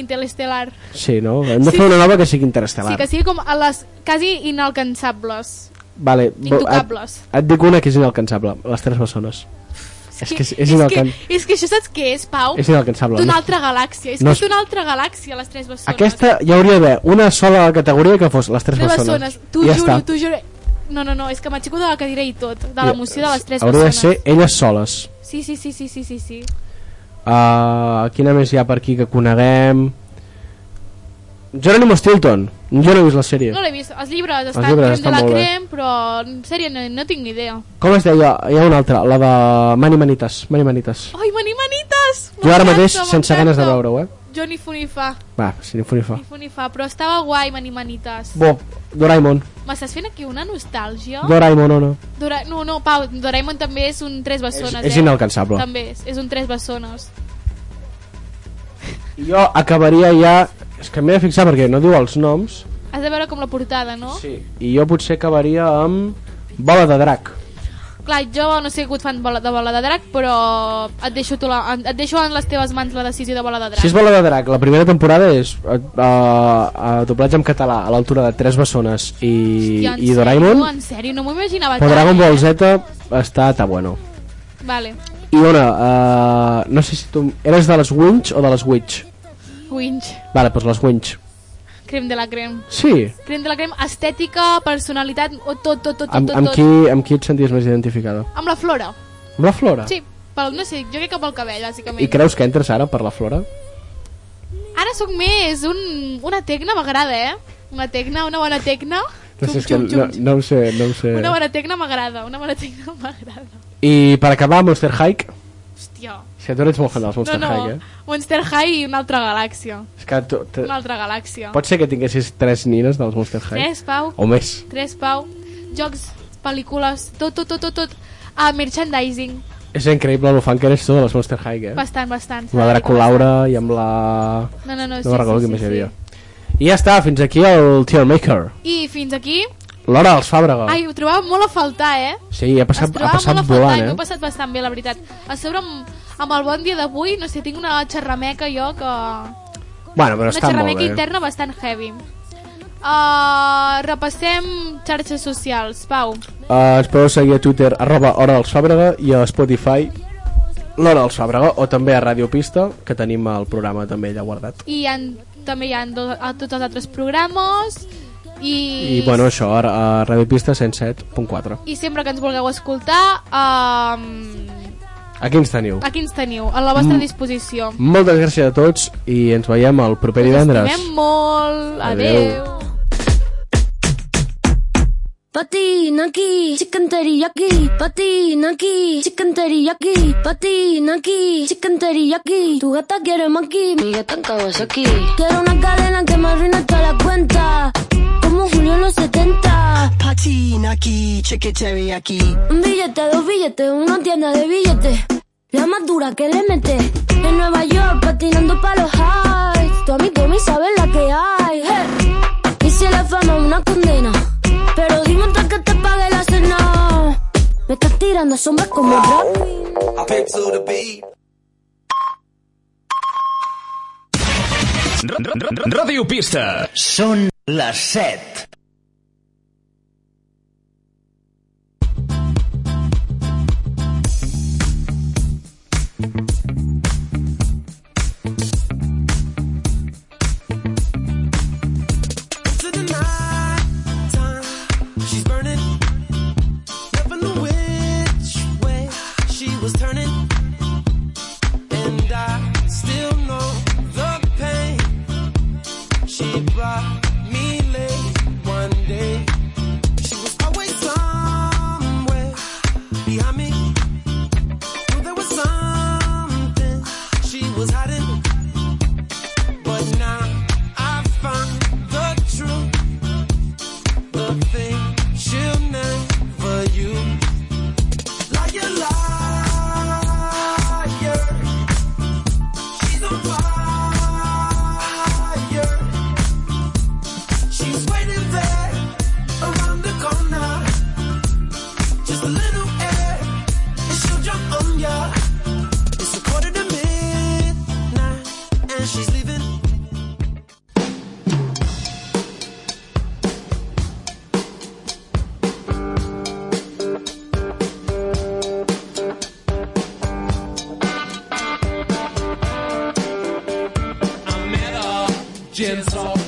Interestelar.
Sí, no? Hem de
Sí,
fer una
sí.
nova que sigui
Sí,
interestel·lar.
que sigui com a les quasi inalcançables.
Vale, bo-
Intocables.
Et, et dic una que és inalcançable, les tres bessones. És que és, és,
és, que,
inalcan...
és que això saps què és, Pau?
és inalcançable.
D'una
No-
altra galàxia. És
no
no,
és-
que és d'una altra galàxia, les tres bessones.
Aquesta hi hauria d'haver una sola categoria que fos les tres
Tres
bessones.
bessones. T'ho
I ja
juro,
està.
t'ho juro. No, no, no, és que m'aixeco de la cadira i tot, de l'emoció de les tres
Hauria de
bessones.
ser elles soles.
Sí, sí, sí, sí, sí, sí, sí.
Uh, quina més hi ha per aquí que coneguem? Geronimo Stilton. Jo no he vist la sèrie.
No l'he vist. Els llibres estan crem
llibres estan
de la
molt bé.
crem, però en sèrie no, no tinc ni idea.
Com es deia? Hi ha una altra, la de Mani Manitas. Mani Manitas.
Ai, mani manites!
Jo ara
Oh, M'encanta,
mateix, sense
m'encanta.
ganes de veure-ho, eh?
Jo ni fu ni fa,
Va, si ni funifa.
ni fu ni fa, però estava guai, mani manites.
Bo, Doraemon.
M'estàs fent aquí una nostàlgia?
Doraemon, no, no.
Dora... No, no, Pau, Doraemon també és un tres
És,
bessones,
és
eh?
inalcançable.
També és, és un tres bessones.
Jo acabaria ja... És que m'he de fixar perquè no diu els noms.
Has de veure com la portada, no?
Sí. I jo potser acabaria amb... Bola de drac.
Clar, jo no sé que et fan bola, de bola de drac, però et deixo, tu la, et deixo en les teves mans la decisió de bola de drac.
Si és Bola de Drac, la primera temporada és a, a, a doblatge en català a l'altura de Tres Bessones i,
Hòstia, en
i Doraemon,
Sèrio, en sèrio, no m'ho imaginava.
però
tant.
Dragon Ball Z està ta bueno.
Vale.
I una, uh, no sé si tu... Eres de les Winch o de les Witch?
Winch.
Vale, doncs les Winch.
Crem de la crem.
Sí,
Crem de la crem, estètica, personalitat, o tot, tot, tot, tot,
amb,
tot.
amb,
tot.
qui, amb qui et senties més identificada?
Amb la flora.
Amb la Flora?
Sí, pel, no sé, jo crec que pel cabell, bàsicament.
I creus que entres ara per la Flora?
Ara sóc més un, una tecna, m'agrada, eh? Una tecna, una bona tecna.
No
Xum,
sé, és que
xum, xum,
no, no ho sé, no ho sé.
Una bona tecna m'agrada, una bona tecna m'agrada.
I per acabar, Monster Hike.
Hòstia.
És que tu no ets molt fan dels Monster
no, no,
Hike, eh?
Monster High i una altra galàxia.
És que tu, te,
Una altra galàxia.
pot Oh. ser que tinguessis tres nines dels Monster Hike.
Tres, Pau.
O més.
Tres, Pau. Jocs, pel·lícules, tot, tot, tot, tot, tot. Ah, merchandising.
És increïble el fan que eres tu de les Monster High, eh?
Bastant, bastant.
Amb la Draculaura i amb la...
No, no, no,
No
sí,
me'n recordo
sí,
qui
sí,
més hi
sí.
havia. I ja està, fins aquí el Tier Maker.
I fins aquí...
L'hora dels Fàbrega.
Ai, ho trobava molt a faltar, eh?
Sí, ha
Es
passat, ha
trobava
passat
molt a faltar i
volant,
m'ho he
eh?
passat bastant bé, la veritat. A sobre, amb, amb el bon dia d'avui, no sé, tinc una xerrameca jo que...
Bueno, però
una
està molt
xerrameca
bé.
interna bastant heavy. Uh, repassem xarxes socials, Pau.
Uh, ens podeu seguir a Twitter, arroba Hora dels Fàbrega, i a Spotify, l'Hora dels Fàbrega, o també a Radio Pista, que tenim el programa també allà guardat.
I en també hi ha do, a tots els altres programes i,
I, bueno, això, a, a Radio Pista 107.4.
i sempre que ens vulgueu escoltar um,
Aquí ens teniu.
aquí ens teniu, a la
Mm.
vostra disposició
Moltes gràcies a tots i ens veiem el proper divendres.
estimem molt,
Adeu.
adeu.
Patina aquí, chicken teriyaki. Patina aquí, chicken teriyaki. Patina aquí, chicken teriyaki. Tu gata quiere maki, mi gata en Kawasaki. Quiero una cadena que me arruine toda la cuenta. Como Julio en los 70.
Patina aquí, chicken teriyaki.
Un billete, dos billetes, una tienda de billetes. La más dura que le mete. En Nueva York, patinando pa' los highs. Tu amigo me sabe la que hay. Hey. Y si la fama es una condena. Pero dime hasta que te pague la cena. Me estás tirando sombras como Brad Pitt.
Ràdio Pista.
Són les 7.
Gin salt.